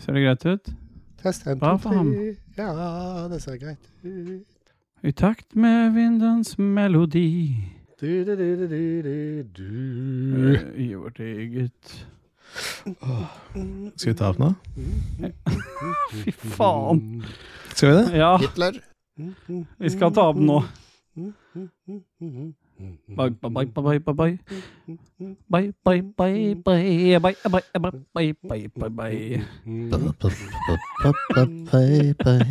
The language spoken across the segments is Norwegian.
Ser det greit ut? Test 1, Bra 2, for ham. 3. Ja, det ser greit ut. I takt med vindens melodi. Du, du, du, du, du, du, du. eh, I vårt eget Skal vi ta opp nå? Ah, Fy faen. Skal vi det? Ja, Hitler. vi skal ta opp nå. Bye, bye, bye, bye, bye. Bye, bye, bye, bye, bye, bye, bye, bye, bye, bye, bye.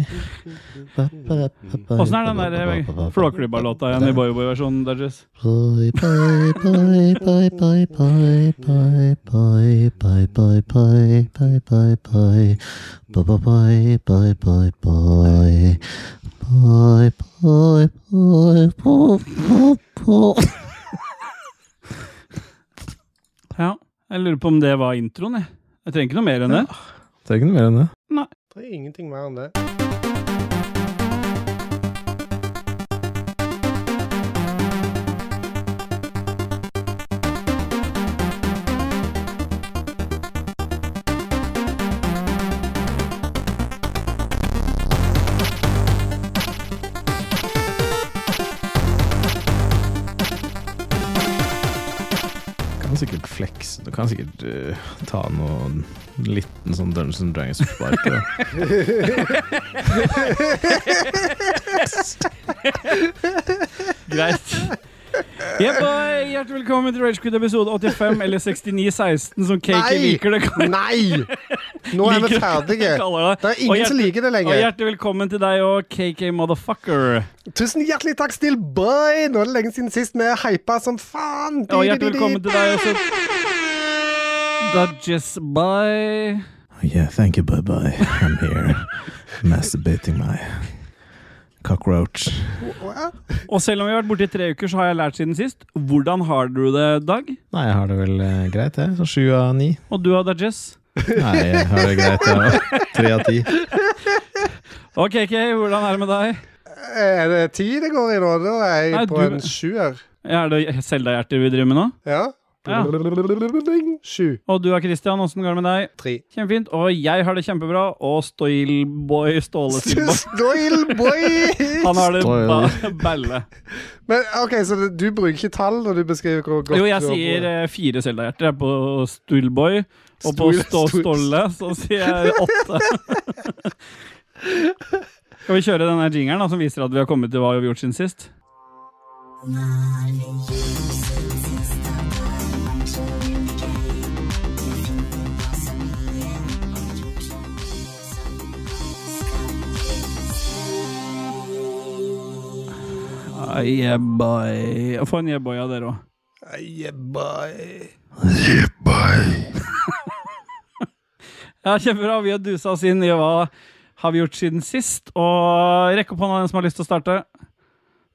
Åssen er den der eh, Flåklypa-låta igjen i boyboy-versjonen, Dodges? Bye, bye, bye, bye, bye, bye, bye, bye, bye, bye, bye, bye, bye, bye. Bye, bye, bye, bye, bye, bye. Bye, bye, bye, bye, bye, bye. Ja. Jeg lurer på om det var introen, jeg. Jeg trenger ikke noe mer enn det. Det er ikke noe mer enn det. Det er ingenting mer enn det. Du kan sikkert flex. Du kan sikkert eh, ta noe liten sånn Dungeons and Dragons-spark. da. Greit. Jepp, og hjertelig velkommen til Ragequid episode 85 eller 6916, som Cakey Nei! liker det. Nei! Nå er vi Liker- ferdige. kaller det. Det er ingen som liker det Og lenger. hjertelig velkommen til deg og KK Motherfucker. Tusen hjertelig takk, Stillboy! Nå er det lenge siden sist vi er hypa som faen. Og hjertelig velkommen til deg også. Dodges by Oh, Yeah, thank you, bye bye. I'm here masturbating my cockroach. Hva? Og selv om vi har vært borte i tre uker, så har jeg lært siden sist. Hvordan har du det, Dag? Nei, jeg har det vel eh, greit, jeg. Sånn sju av ni. Og du, Dodges? Nei, jeg har det greit, jeg òg. Tre av ti. Og KK, hvordan er det med deg? Er det ti det går i nå? Da er jeg Nei, på du- en sjuer. Er det Selda-hjerter vi driver med nå? Ja. Ja. Sju. Og du, Christian, åssen går det med deg? Tre. Kjempefint. Og jeg har det kjempebra. Og Stoilboy Ståle Stilboy. Stoilboy! Han har det Stoil. ba balle. Men OK, så det- du bruker ikke tall når du beskriver hvor godt Jo, jeg du har sier eh, fire Selda-hjerter jeg, på Stoilboy. Og på Stoil- Stå Stoil- Stolle så sier jeg åtte. Skal vi kjøre denne jingeren da, som viser at vi har kommet til hva vi har gjort siden sist? Ah, yeah, boy. Få en yeah boy av dere òg. Yeah, boy. Ja, kjempebra. Vi har dusa oss inn i hva har vi gjort siden sist. Og rekk opp hånda den som har lyst til å starte.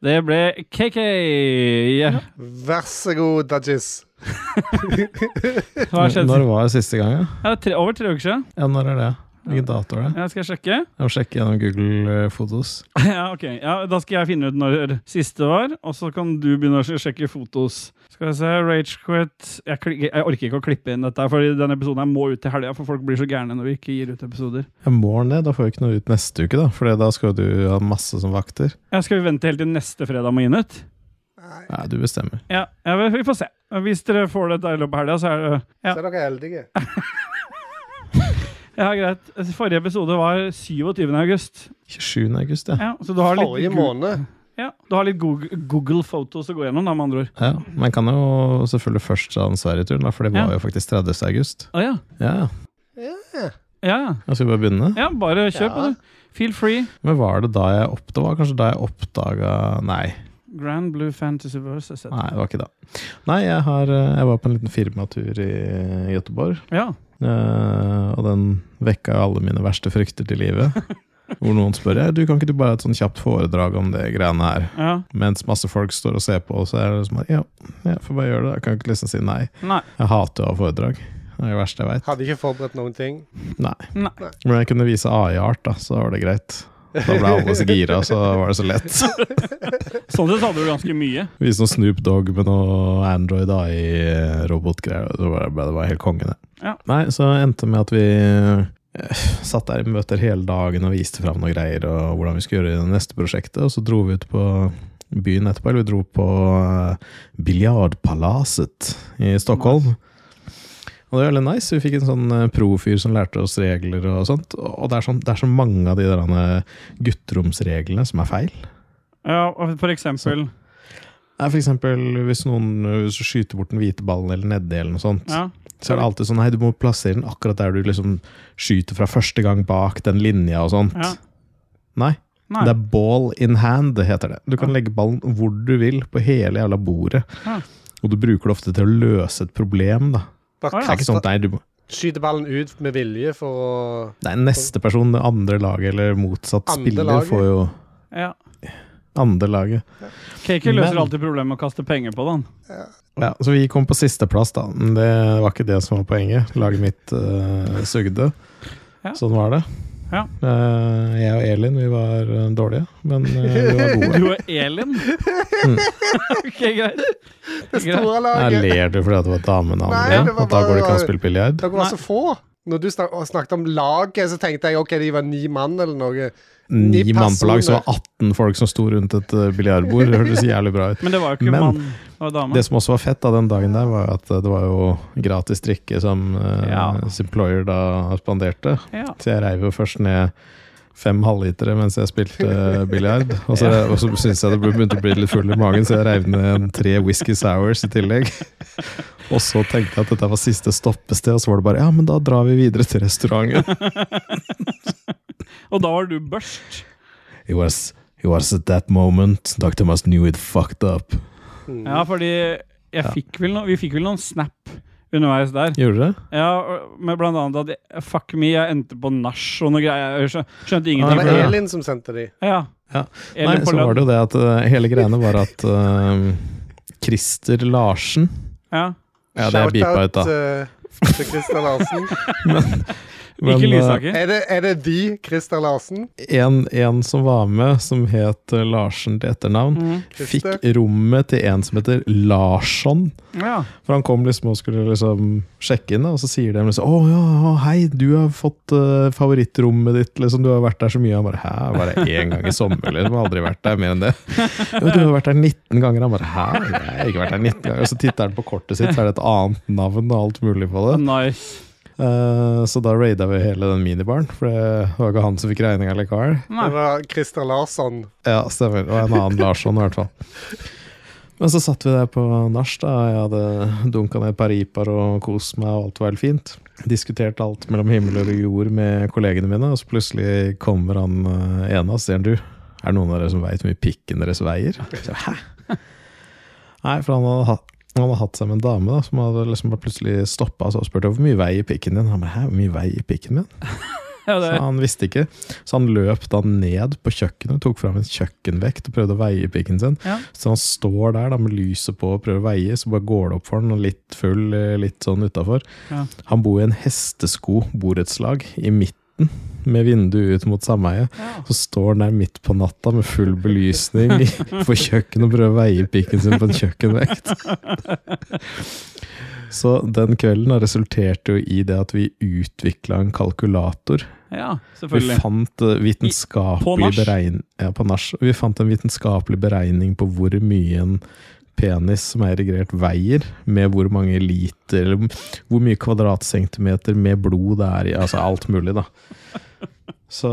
Det ble KK. Vær så god, Dajis. Hva har skjedd? Når var det siste gang, da? Ja, det er tre, over tre uker siden. Ja, når er det? Hvilken dato er det? Ja, skal jeg sjekke? Jeg må sjekke gjennom Google eh, Fotos. Ja, ok. Ja, da skal jeg finne ut når siste var, og så kan du begynne å sjekke fotos. Skal vi se, Ragequit jeg, kli- jeg orker ikke å klippe inn dette, her, Fordi denne episoden her må ut til helga, for folk blir så gærne når vi ikke gir ut episoder. Jeg må den det. Da får vi ikke noe ut neste uke, da. For da skal du ha masse som vakter. Ja, skal vi vente helt til neste fredag med å gi den ut? Nei, Nei, du bestemmer. Ja, ja, vi- vi får se. Hvis dere får dette i løpet av helga, så er det ja. så er dere heldige. Ja, greit. Forrige episode var 27. august. 27. august, ja. Ja, så du har litt, Forrige Gu- måned. ja, du har litt Google, Google Photos å gå gjennom, da, med andre ord. ja. Man kan jo selvfølgelig først ta den Sverige-turen, da, for det var Ja. jo faktisk 30. august. Å ja. Ja, ja. Ja, ja. Ja, Skal vi bare begynne? ja, bare kjør på, du. Ja. Feel free. Men var det da jeg opp... Det var kanskje da jeg oppdaga Nei, Grand Blue Fantasy Verse. etc. nei, det var ikke da. Nei, jeg, har, eh, jeg var på en liten firmatur i Göteborg, Ja. eh, og den vekka jo alle mine verste frykter til livet. Hvor noen spør ja, du kan ikke du bare ha et sånn kjapt foredrag om det greiene her. ja. Mens masse folk står og ser på, så er det liksom ja, jeg får bare gjøre det. Jeg kan ikke liksom si nei. Nei. Jeg hater å ha foredrag. Det er det verste jeg veit. Hadde ikke forberedt noen ting. Men jeg kunne vise AI-art, da, så var det greit. Da ble alle så gira, så var det så lett. Sånn sett hadde du ganske mye. Vise noe Snoop Dogg med noe Android AI-robotgreier. Det var det var helt konge, det. Ja. Nei, så endte det med at vi eh, satt der i møter hele dagen og viste fram noen greier og hvordan vi skulle gjøre i det neste prosjektet. Og så dro vi ut på byen etterpå, eller vi dro på eh, Biljardpalaset i Stockholm. Og det var veldig nice. Vi fikk en sånn eh, profyr som lærte oss regler og sånt. Og det er, sånn, det er så mange av de der eh, gutteromsreglene som er feil. Ja, og for eksempel. Nei, for eksempel hvis noen eh, hvis du skyter bort den hvite ballen eller nedi eller noe sånt. Ja. Så er det alltid sånn Nei, du må plassere den akkurat der du liksom skyter fra første gang bak den linja og sånt. Ja. Nei, Nei. det er ball in hand, det heter det. Du kan legge ballen hvor du vil, på hele jævla bordet. Ja. Og du bruker det ofte til å løse et problem, da. Å, ja. Bare Det er ikke kaste, sånn, nei, du må skyte ballen ut med vilje for å Det er neste person, det andre laget, eller motsatt Andre spiller, laget. får jo Ja. andre laget. Cakey løser Men- alltid problemet med å kaste penger på den. Ja, så vi kom på sisteplass, da. Men det var ikke det som var poenget. Laget mitt eh, sugde. Ja. Sånn var det. Ja. Eh, jeg og Elin, vi var eh, dårlige, men eh, vi var gode. Du og Elin? Mm. ok, greit. greit. Det store Jeg laget. ler du fordi at det var damenavnet? Nei, Ja, det var at da bare- går det ikke an å spille biljard? Dere var så få. Når du snak og snakket om laget, så tenkte jeg ok, de var ni mann eller noe. Ni Ni mann på lag, så personer. var 18 folk som sto rundt et eh, biljardbord. Det hørtes jævlig bra ut. Men det var jo ikke Men- mann og dame. Det som også var fett da, den dagen der, var at eh, det var jo gratis drikke som eh, Ja. Simployer da spanderte. Ja. Så jeg reiv jo først ned fem halvlitere mens jeg spilte eh, biljard. Og så, og så syntes jeg det begynte å bli litt full i magen, så jeg reiv ned tre whisky sours i tillegg. Og så tenkte jeg at dette var siste stoppested, og så var det bare ja, men da drar vi videre til restauranten. Og da var du børst. It was, it was at that moment Dr. Thomas knew it fucked up. Hmm. Ja, fordi jeg Mm. Ja. fikk vel no vi fikk vel noen snap underveis der. Gjorde du det? Ja, og- med blant annet at jeg- fuck me, jeg endte på nach og noe greier. Jeg skjø- skjønte Det ingenting. Ah, var for det. Elin som sendte de. Ja. Ja. Elin Nei, på så lønn. var det jo det at eh, hele greiene var at eh, Christer Larsen Ja. Ja, det er beepa ut, da. eh, til Christer Larsen. Ikke Men, eh, Lysaker. Er det, er det de Christer Larsen? en, en som var med, som het eh, Larsen til etternavn, Mhm. fikk Christer. rommet til en som heter Larsson. Ja. For han kom liksom og skulle liksom sjekke inn, da, og så sier de liksom 'Å ja, å, hei, du har fått eh, favorittrommet ditt', liksom. 'Du har vært der så mye'. Han bare 'hæ, var det én gang i sommer?' Liksom. Aldri vært der mer enn det. Jo, 'Du har vært der 19 ganger'. Han bare 'hæ, jeg har ikke vært der 19 ganger'. Og så titter han på kortet sitt, så er det et annet navn og alt mulig på Mm. det. Nice. Eh, så da raida vi hele den minibaren, for det var ikke han som fikk regninga likevel. Nei. Det var Christer Larsson. Ja, stemmer. Og en annen Larsson, i hvert fall. Men så satt vi der på nach, da. Jeg hadde dunka ned et par ripaer og kost meg, og alt var helt fint. Diskuterte alt mellom himmel og jord med kollegene mine, og så plutselig kommer han eh, ene og sier han, du, er det noen av dere som veit hvor mye pikken deres veier? Jeg sa, Hæ? Nei, for han hadde hatt han hadde hatt seg med en dame da, som hadde liksom bare plutselig stoppa og spurt hvor mye veier pikken din. Han bare, hæ, hvor mye veier pikken min? Ja, det Så han visste ikke. Så han løp da ned på kjøkkenet, tok fram en kjøkkenvekt og prøvde å veie pikken sin. Ja. Så han står der da med lyset på og prøver å veie, så bare går det opp for han, og litt full, eh, litt sånn utafor. Ja. Han bor i en hestesko borettslag i midten. Med vinduet ut mot sameiet. Ja. Så står han der midt på natta med full belysning for kjøkkenet og prøver å veie pikken sin på en kjøkkenvekt. Så den kvelden da resulterte jo i det at vi utvikla en kalkulator ja, vi selvfølgelig. fant eh, På vitenskapelig nach? beregn... Ja, på nach. Vi fant en vitenskapelig beregning på hvor mye en penis som er erigert, veier. Med hvor mange liter, eller hvor mye kvadratcentimeter med blod det er i. Altså alt mulig, da. Så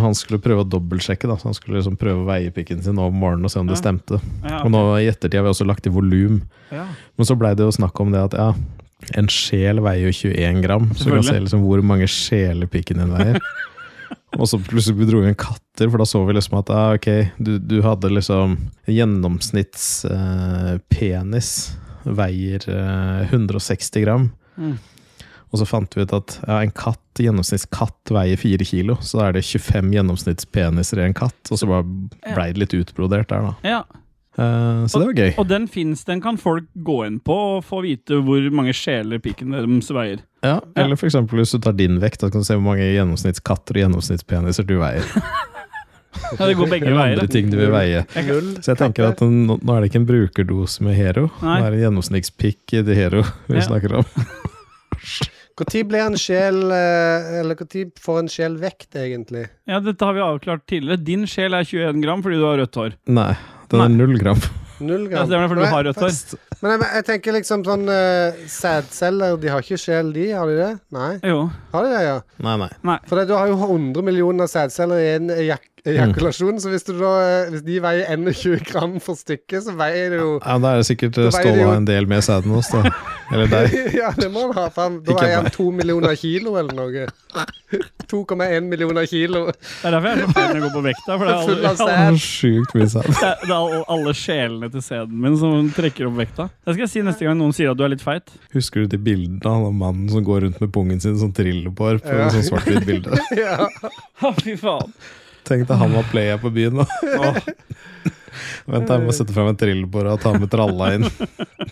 han skulle prøve å dobbeltsjekke. da Så Han skulle liksom prøve å veie pikken sin om morgenen og se om det Ja. stemte. Ja. Og nå i ettertid har vi også lagt i volum. Ja. Men så blei det jo snakk om det at ja, en sjel veier jo 21 gram, så du kan Selvfølgelig. se liksom hvor mange sjelepikken din veier. Og så plutselig dro vi inn katter, for da så vi liksom at ja, ok, du, du hadde liksom gjennomsnittspenis veier eh, 160 gram. Mm. Og så fant vi ut at ja, en katt, gjennomsnittskatt veier 4 kilo, så da er det 25 gjennomsnittspeniser i en katt. Og så bare blei det litt utbrodert der, da. ja. Eh, så det var gøy. Og den fins, den kan folk gå inn på og få vite hvor mange sjeler pikken deres veier. Ja, eller for eksempel hvis du tar din vekt, da kan du se hvor mange gjennomsnittskatter og gjennomsnittspeniser du veier. Ja, det går begge Eller veier. andre ting du vil veie. Null. Så jeg tenker at nå nå er det ikke en brukerdose med Hero, Nei. nå er det en gjennomsnittspikk i det Hero vi Ja. snakker om. Når ble en sjel eh, Eller når får en sjel vekt, egentlig? Ja, dette har vi avklart tidligere. Din sjel er 21 gram fordi du har rødt hår. Nei, den er null gram. Null Ja, gram. det er fordi du har rødt hår. Men jeg, jeg tenker liksom sånn uh, sædceller De har ikke sjel, de? Har de det? Nei? Jo. Har de det, ja? Nei, nei. For det- du har jo 100 millioner sædceller i en ejak Mm. ejakulasjon, så hvis, du da, eh, hvis de veier 21 gram for stykket, så veier det jo Ja, da er det sikkert Da eh, veier det jo- Ståle en del med sæden hos, da. Eller deg. Ja, det må han ha. for han- Da Ikke veier han meg. 2 millioner kilo eller noe. 2,1 millioner kilo. Det er derfor jeg er så fæl når jeg går på vekta. For det er Full av alle, sæd. Det er Sjukt mye sæd. det er, det er alle, alle sjelene til sæden min som trekker opp vekta. Det skal jeg si neste gang noen sier at du er litt feit. Husker du de bildene av den mannen som går rundt med pungen sin som trillebår på Ja. en sånn svart-hvitt bilde? Ja. Å, fy faen. Tenk deg han var playa på byen, da. Åh. Vent, jeg må sette frem en trillebår og ta med tralla inn.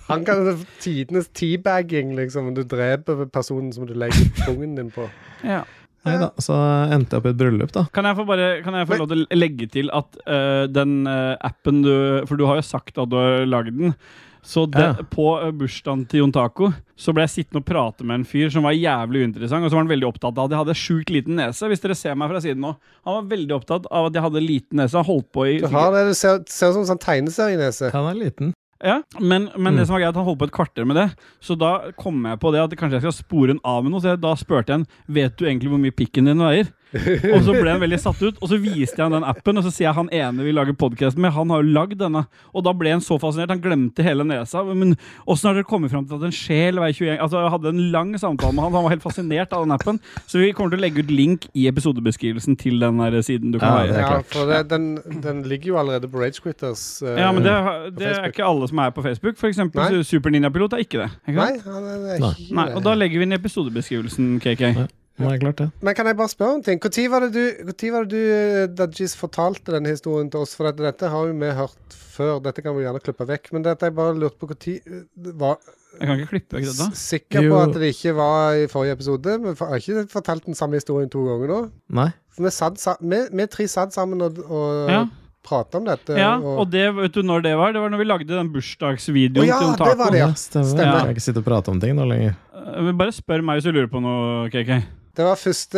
Han kan ha tidenes teabagging, liksom. Du dreper personen som du legger pungen din på. Ja. Nei da, så endte jeg opp i et bryllup, da. Kan jeg få, bare, kan jeg få lov til å legge til at eh, den eh, appen du For du har jo sagt at du har lagd den. Så det, Ja. på eh, bursdagen til Jon Taco Så ble jeg sittende og prate med en fyr som var jævlig uinteressant. Og så var han veldig opptatt av at jeg hadde sjukt liten nese. Hvis dere ser meg fra siden nå Han var veldig opptatt av at jeg hadde liten nese. Han Holdt på i Du har det, du ser, ser ut som en sånn tegneserienese. Han er liten. ja, Men, men det Mm. som var greit, han holdt på et kvarter med det. Så da kom jeg på det at kanskje jeg skal spore han av med noe. Så jeg, da spurte jeg han Vet du egentlig hvor mye pikken din veier. Og så ble han veldig satt ut, og så viste jeg han den appen. Og så sier jeg han ene vi lager podkast med, han har jo lagd denne. Og da ble han så fascinert, han glemte hele nesa. Men åssen har dere kommet fram til at en sjel veier 21 Altså, jeg hadde en lang samtale med han, han var helt fascinert av den appen. Så vi kommer til å legge ut link i episodebeskrivelsen til den der siden du kan Ja, veie. det er Ja, klart. for det, den, den ligger jo allerede på Rage Quitters. eh, Ja, men det, det er Facebook. ikke alle som er på Facebook. For eksempel Nei. Super Ninja-pilot er ikke det. Ikke sant? Nei, han er Nei. ikke Nei, og da legger vi inn episodebeskrivelsen, KK. Nå er det klart, det. Men kan jeg bare spørre om ting? Når var det du, hvor tid var det du eh, Dajis, fortalte den historien til oss? For dette, dette har jo vi hørt før. Dette kan vi gjerne klippe vekk. Men dette jeg bare lurte på når var Jeg kan ikke klippe vekk dette. s- sikker på Jo. at det ikke var i forrige episode. Vi har ikke fortalt den samme historien to ganger nå. Nei. For vi, satt, sa, vi, vi tre satt sammen og, og Ja. prata om dette. Ja, og, og det, vet du når det var? Det var når vi lagde den bursdagsvideoen Å ja, til Jon det Taco. var det, ja. stemmer. Stemmer. Jeg kan ikke sitte og prate om ting nå lenger. Eh, men Bare spør meg hvis du lurer på noe, KK. det var 1.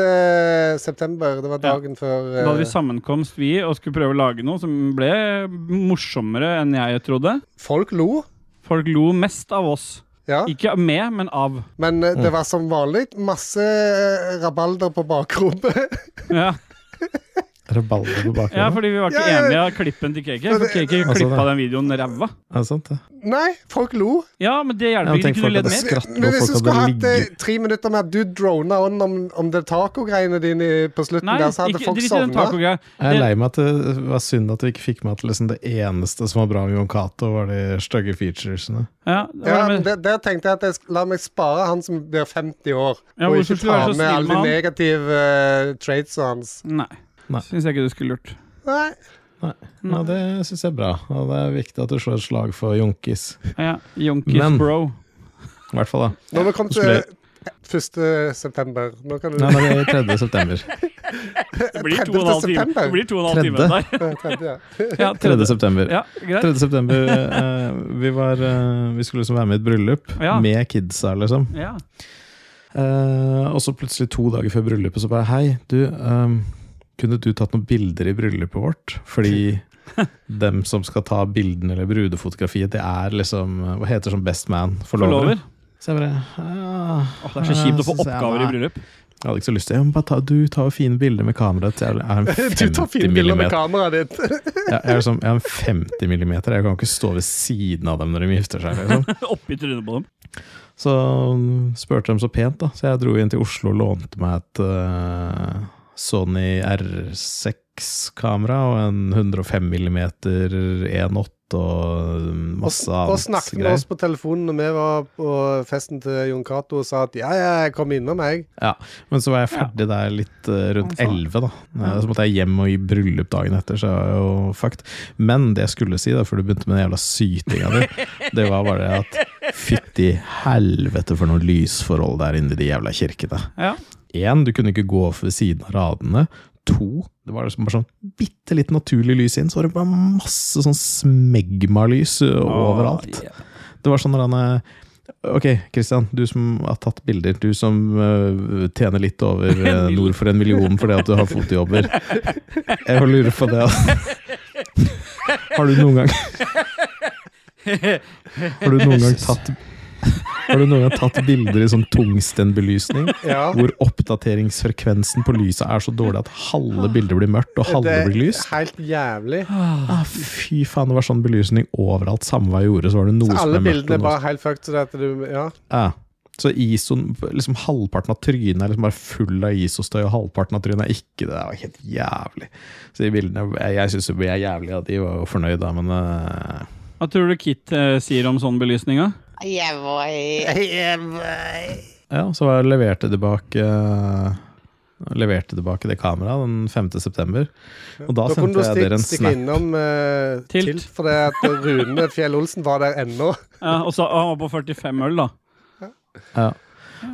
september. Det var Ja. dagen før Da hadde eh, vi sammenkomst, vi, og skulle prøve å lage noe som ble morsommere enn jeg trodde. Folk lo. Folk lo mest av oss. Ja. Ikke med, men av. Men eh, Mm. det var som vanlig masse eh, rabalder på bakrommet. Ja, Er det baller på ja bakgrunnen? fordi vi var ikke Ja, ja, enige av klippen til KK. For KK Altså, klippa det- den videoen ræva. Er det sant, det? Nei, folk lo. Ja, men det Ja, hjelper men ikke. tenk Kunne folk du ledd hadde mer? skratt Men når hvis du folk skulle hadde hatt eh, ligget tre minutter med at du drona on om, om det taco-greiene dine på slutten Nei, der, så hadde ikke, sånn folk drit i den sovna. tacogreia. Jeg er lei meg at det var synd at vi ikke fikk med at liksom det eneste som var bra med Jon Cato, var de stygge featuresene. Ja, det Ja, var men med- der, der tenkte jeg at jeg sk- la meg spare han som blir 50 år, Ja, og hvorfor ikke skulle ta du være så med snill alle med de han? negative eh, traits hans. Nei. Nei. Syns jeg ikke du skulle gjort. Nei, Ja, det syns jeg er bra, og det er viktig at du slår et slag for Jonkis. Ja, Jonkis Men- bro. I hvert fall, da. nå har vi kommet til Skulle- eh, 1. september. Nå kan du Nei, det er 3. september. Det blir 30. to og en halv time. september. Det blir to og en halv time Tredje. der. Tredje. Ja, 3. tredje. september. Ja, greit. 3. september eh, vi, var, eh, vi skulle liksom være med i et bryllup Ja. med kidsa, liksom. Ja. Eh, og så plutselig, to dager før bryllupet, så bare Hei, du, eh, kunne du tatt noen bilder i bryllupet vårt? Fordi dem som skal ta bildene eller brudefotografiet, det er liksom eh, Hva heter det som best man? Forlover? Forlover. Så jeg bare «Ah, Åh, det er så kjipt å få synes jeg, oppgaver i nei». bryllup. Jeg hadde ikke så lyst til det. Bare ta, du tar jo fine bilder med kameraet. Jeg er en Du tar fine 50 bilder med millimeter. kameraet ditt. Jeg jeg er, liksom, jeg er en 50 millimeter. Jeg kan ikke stå ved siden av dem når de gifter seg. Liksom. Oppi trynet på dem. Så mm, spurte de så pent, da. Så jeg dro inn til Oslo og lånte meg et eh, Sony R6-kamera og en 105 mm 1.8 og mm, masse Og- Og annet snakket med greier. oss på telefonen når vi var på festen til Jon Cato og sa at ja, ja, jeg kom innom, jeg. Men så var jeg ferdig der litt eh, rundt Ja, så- 11, da. Eh, Så måtte jeg hjem og i bryllup dagen etter, så jeg var jo fucked. Men det jeg skulle si, da, før du begynte med den jævla sytinga di, det var bare det at fytti helvete for noen lysforhold der inne i de jævla kirkene. Ja. Én, du kunne ikke gå for ved siden av radene. To, det var liksom bare sånn bitte litt naturlig lys inn, så var det Ah, bare masse sånn smegmalys ø, overalt. Åh, ja. Det var sånn der han, eh, Ok, Kristian, du som har tatt bilder. Du som øh, tjener litt over øh, mill. nord for en million fordi at du har fotojobber. Jeg bare lurer på det. Altså. Har du noen gang Har du noen gang tatt Har du noen gang tatt bilder i sånn tungstenbelysning? Ja. Hvor oppdateringsfrekvensen på lyset er så dårlig at halve bildet blir mørkt og halve Det er blir lyst? Helt jævlig. Ah, fy faen, det var sånn belysning overalt. Samme hva jeg gjorde, så var det noe Så som alle ble mørkt. bildene og er noe bare helt fucked. Så det at du, ja. Ja. Så ISO-en, liksom halvparten av trynet er liksom bare full av ISO-støy, og halvparten av trynet er ikke det. Det var helt jævlig. Så de bildene, Jeg, jeg syns vi er jævlige, og de var jo fornøyd da, men eh, Hva tror du Kit eh, sier om sånn belysning? da? Yeah, boy. Ja, så var jeg leverte tilbake eh, Leverte tilbake det kameraet den 5. september. Og da, Da kunne sendte du jeg stikke, dere en stikke snap. innom eh, Tilt. Tilt, for det at Rune Fjell Olsen var der ennå. Ja, og så, ah, han var på 45 øl, da. Ja.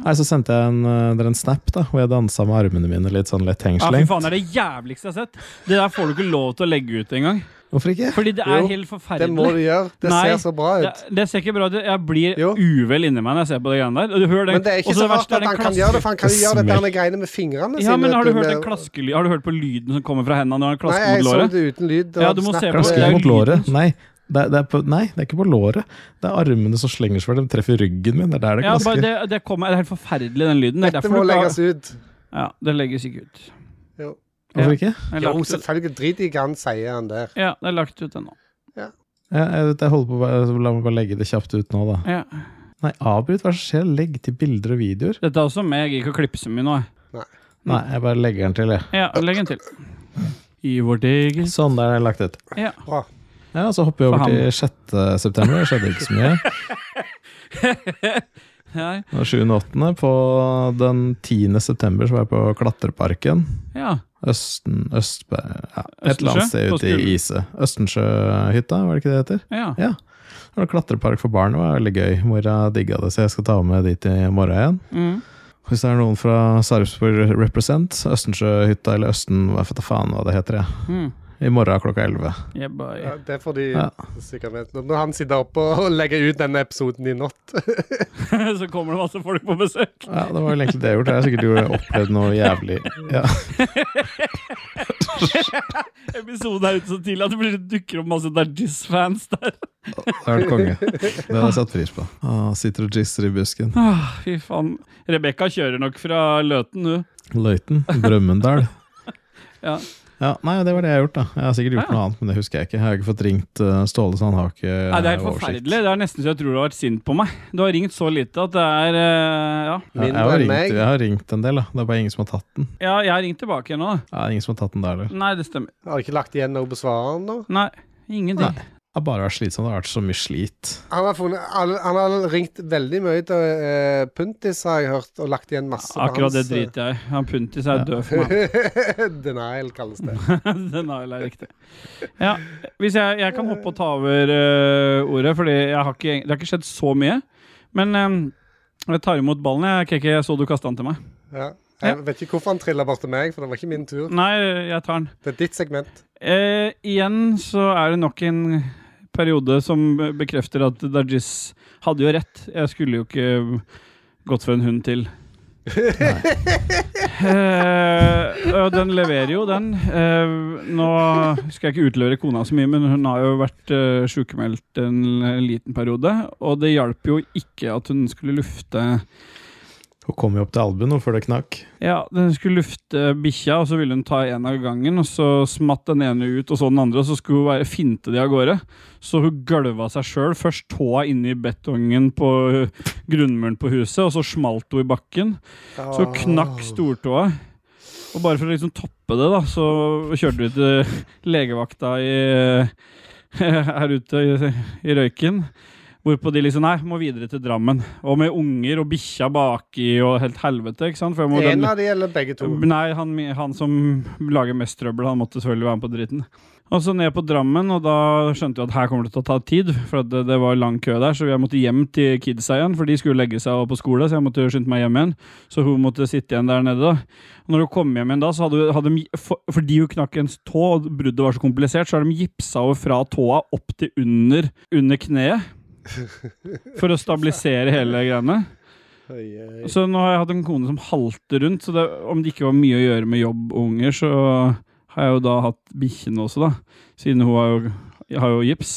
Nei, så sendte jeg en, eh, dere en snap da, hvor jeg dansa med armene mine litt sånn lett Ja, fy hengslengt. faen, Det er det jævligste jeg har sett. Det der får du ikke lov til å legge ut engang. Hvorfor ikke? Fordi det er Jo, helt Det må forferdelig. du gjøre. Det Nei, ser så bra Det, ut. det ser ikke bra ut. Jeg blir Jo. uvel inni meg når jeg ser på det greiene der. Og Du hører den, Men det er ikke og så det rart verste er at den han kan klasse- gjøre det, for han kan jo gjøre dette Smell. med greiene med fingrene Ja, men Har du hørt den med- klaskely- Har du hørt på lyden som kommer fra hendene når han eh, Nei, klasker mot jeg så låret? det uten lyd. Ja, du må se på Snakker- det. Klasker er jo mot låret? lyden. Nei. Det, er, det er på, nei, det er ikke på låret. Det er armene som slenger seg for De treffer ryggen min. Det er der det Ja, klasker. bare det, det, kommer, det er helt forferdelig, den lyden. Det er Dette derfor må du kan- legges ut. Ja, det legges ikke ut. Jo. Hvorfor ikke? Det er Jo, lagt ut. selvfølgelig. Drit i hva han sier, han der. Ja, det er lagt ut ennå. Ja, jeg, jeg holder på, å bare- så la meg bare legge det kjapt ut nå, da. Ja. Nei, avbryt. Hva skjer? Legg til bilder og videoer. Dette er også meg. Jeg gidder ikke å klippe så mye nå. jeg. Nei, jeg bare legger den til, jeg. Ja, legg en til. I vårt eget Sånn, der er den lagt ut. Ja. Bra. Ja, Så hopper vi over For ham. til 6. september. Det skjedde ikke så mye. Her. Og 7. og 8. På den 10. september så var jeg på Klatreparken. Ja. Østen... Østbe... Ja, et Østensjø? eller annet sted På ute i skolen. Ise. Østensjøhytta, var det ikke det det heter? ja. Ja. Og Klatrepark for barn var veldig gøy. Mora digga det, så jeg skal ta med dit i morgen igjen. Mm. Hvis det er noen fra Sarpsborg Represent, Østensjøhytta eller Østen, hva vet da faen hva det heter, jeg. Mm. I morgen klokka 11. Yeah, boy. Ja, det får de Ja. sikkert med. Når han sitter oppe og legger ut denne episoden i natt så kommer det masse folk på besøk. Ja, det var vel egentlig det jeg gjorde. Jeg har sikkert gjort- opplevd noe jævlig ja. Episoden er ute så tidlig at det blir- dukker opp masse Dajis-fans der. Det har vært konge. Det hadde jeg satt pris på. Ah, sitter og gisser i busken. Ah, fy faen. Rebekka kjører nok fra Løten, hun. Løiten. Brømmendal. Ja. Ja, nei, det var det jeg har gjort, da. Jeg har sikkert gjort Ja. noe annet, men det husker jeg ikke. Jeg har ikke fått ringt eh, Ståle, så han har ikke eh, Nei, det er helt oversikt. forferdelig. Det er nesten så jeg tror du har vært sint på meg. Du har ringt så lite at det er eh, Ja, Ja, jeg, har mindre enn ringt, meg. jeg har ringt en del, da. Det er bare ingen som har tatt den. ja jeg har ringt tilbake igjen nå. da. Ja, ingen som har tatt den der, eller? Nei, det stemmer. Har ikke lagt igjen noe på svarene nå. Nei, ingenting. Det har bare vært slitsomt. Det har vært så mye slit. Han har, funnet, alle- han har ringt veldig mye til eh, Puntis, har jeg hørt, og lagt igjen masse Akkurat det hans, eh, driter jeg i. Han Puntis er død for meg. Denial kalles det. Den er vel riktig. Ja, hvis jeg, jeg kan hoppe og ta over eh, ordet, Fordi jeg har ikke, det har ikke skjedd så mye. Men eh, jeg tar imot ballen. Jeg, Keke, jeg så du kasta den til meg. Ja. Jeg vet ikke hvorfor han trilla bort til meg, for det var ikke min tur. Nei, jeg tar den. Det er ditt segment. Eh, igjen så er det nok en periode som bekrefter at Dajis hadde jo rett. Jeg skulle jo ikke gått for en hund til. Eh, og den leverer jo, den. Eh, nå skal jeg ikke utlevere kona så mye, men hun har jo vært eh, sykemeldt en liten periode. Og det hjalp jo ikke at hun skulle lufte Hun kom jo opp til albuen nå før det knakk. ja, den skulle lufte bikkja, og så ville hun ta en av gangen. Og så smatt den ene ut, og så den andre, og så skulle hun være, finte de av gårde. Så hun gølva seg sjøl. Først tåa inni betongen på uh, grunnmuren på huset, og så smalt hun i bakken. Så hun Ah. knakk stortåa. Og bare for å liksom toppe det, da, så kjørte vi til legevakta i, her ute i, i Røyken. Hvorpå de liksom Nei, må videre til Drammen. Og med unger og bikkja baki og helt helvete. ikke sant? For jeg må En den- av de eller begge to? Nei, han, han som lager mest trøbbel, han måtte selvfølgelig være med på dritten. Og så ned på Drammen, og da skjønte jeg at her kommer det til å ta tid, for at det, det var lang kø der, så jeg måtte hjem til kidsa igjen, for de skulle legge seg og på skole, så jeg måtte skynde meg hjem igjen. Så hun måtte sitte igjen der nede, da. Og når hun kom hjem igjen da, så hadde, hadde de, for, fordi hun knakk en tå, og bruddet var så komplisert, så har de gipsa henne fra tåa opp til under, under kneet. For å stabilisere hele greiene. Oi, oi. Så nå har jeg hatt en kone som halter rundt, så det, om det ikke var mye å gjøre med jobb og unger, så har jeg jo da hatt bikkjene også, da. Siden hun har jo, har jo gips.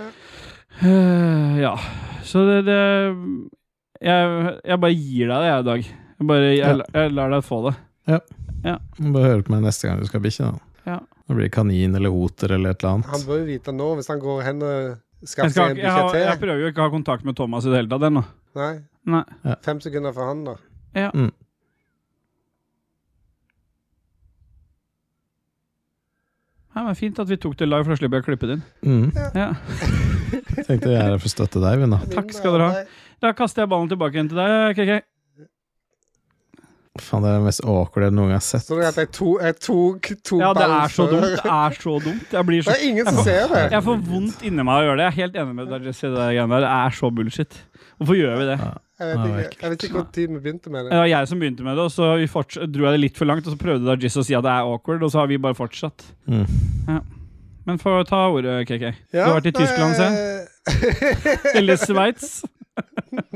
Eh, ja. Så det, det jeg, jeg bare gir deg det, jeg, i dag. Jeg, bare, jeg, jeg lar deg få det. Du må Bare høre på meg neste gang du skal ha bikkje, da. Ja. Da blir det kanin eller oter eller et eller Han annet. bør jo vite nå, hvis han går hen og Jeg, skaffer skal, seg ikke- en jeg, har, bikkje jeg til. prøver jo ikke å ha kontakt med Thomas i det hele tatt ennå. Nei. Nei. Fem sekunder for han, da. Nei, men Fint at vi tok det live, for da slipper jeg å klippe det inn. Mm. Ja. Tenkte jeg er her for å støtte deg, Vinna. Takk skal dere ha. Da kaster jeg ballen tilbake igjen til deg, KK. Faen, det er det mest awkward jeg noen gang har sett. Så du at jeg, to, jeg tok to Ja, det ball er så før? dumt. Det er så dumt. Jeg blir Det så er ingen som ser det. Jeg får vondt inni meg av å gjøre det. Jeg er helt enig med deg. Jesse, Det der greiene der Det er så bullshit. Hvorfor gjør vi det? Jeg vet Ja, ikke, ekkelt. jeg vet ikke hvor tid vi begynte med Det det. var jeg som begynte med det, og så vi forts- dro jeg det litt for langt. Og så prøvde Dargis å si at det er awkward, og så har vi bare fortsatt. Mm. Ja. Men få ta ordet, KK. Ja, Du har vært i nei, eh, Tyskland, se. Eller Sveits.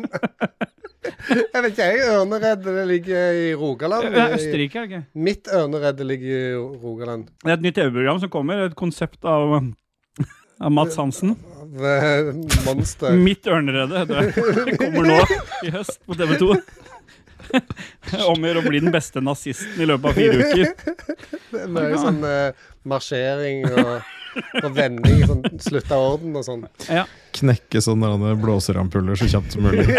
Jeg vet ikke, jeg. Ørneredet det ligger i Rogaland. Det er I- Østerrike, er det ikke? Mitt ørnerede ligger i Rogaland. Det er et nytt TV-program som kommer. Et konsept av, av Mats Hansen. Ved eh, Monster. Mitt ørnerede heter det. Det kommer nå i høst på TV 2. Omgjør å bli den beste nazisten i løpet av fire uker. Det er mye sånn eh, marsjering og, og vending, sånn slutt av orden og sånn. Knekke sånne der blåserampuller så kjapt som mulig.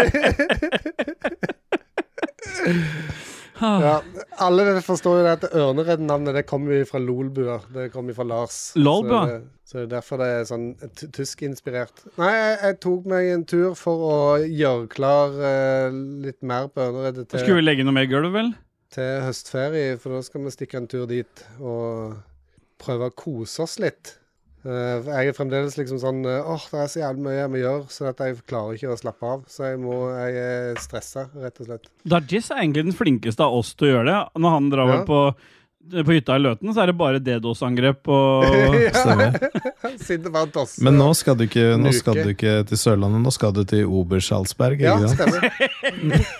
Ja, alle forstår jo det at ørnereddnavnet det kommer jo fra Lolbua. Det kommer jo fra Lars. Lolbua? Så, det- så det er derfor det er sånn t- tyskinspirert. Nei, jeg, jeg tok meg en tur for å gjøre klar eh, litt mer på ørneredet Skulle til, vi legge noe mer gulv, vel? til høstferie, for da skal vi stikke en tur dit og prøve å kose oss litt. Eh, for jeg er fremdeles liksom sånn eh, åh, det er så jævlig mye jeg må gjøre, så at jeg klarer ikke å slappe av. Så jeg, må, jeg er stressa, rett og slett. Dargis er egentlig den flinkeste av oss til å gjøre det. Når han drar Ja. vel på, eh, på hytta i Løten, så er det bare DDoS-angrep og Stemmer. Sitter bare og tosser. Men nå skal du ikke, nå Nuke. skal du ikke til Sørlandet, nå skal du til Obersalsberg. Ja, Ikke sant? stemmer.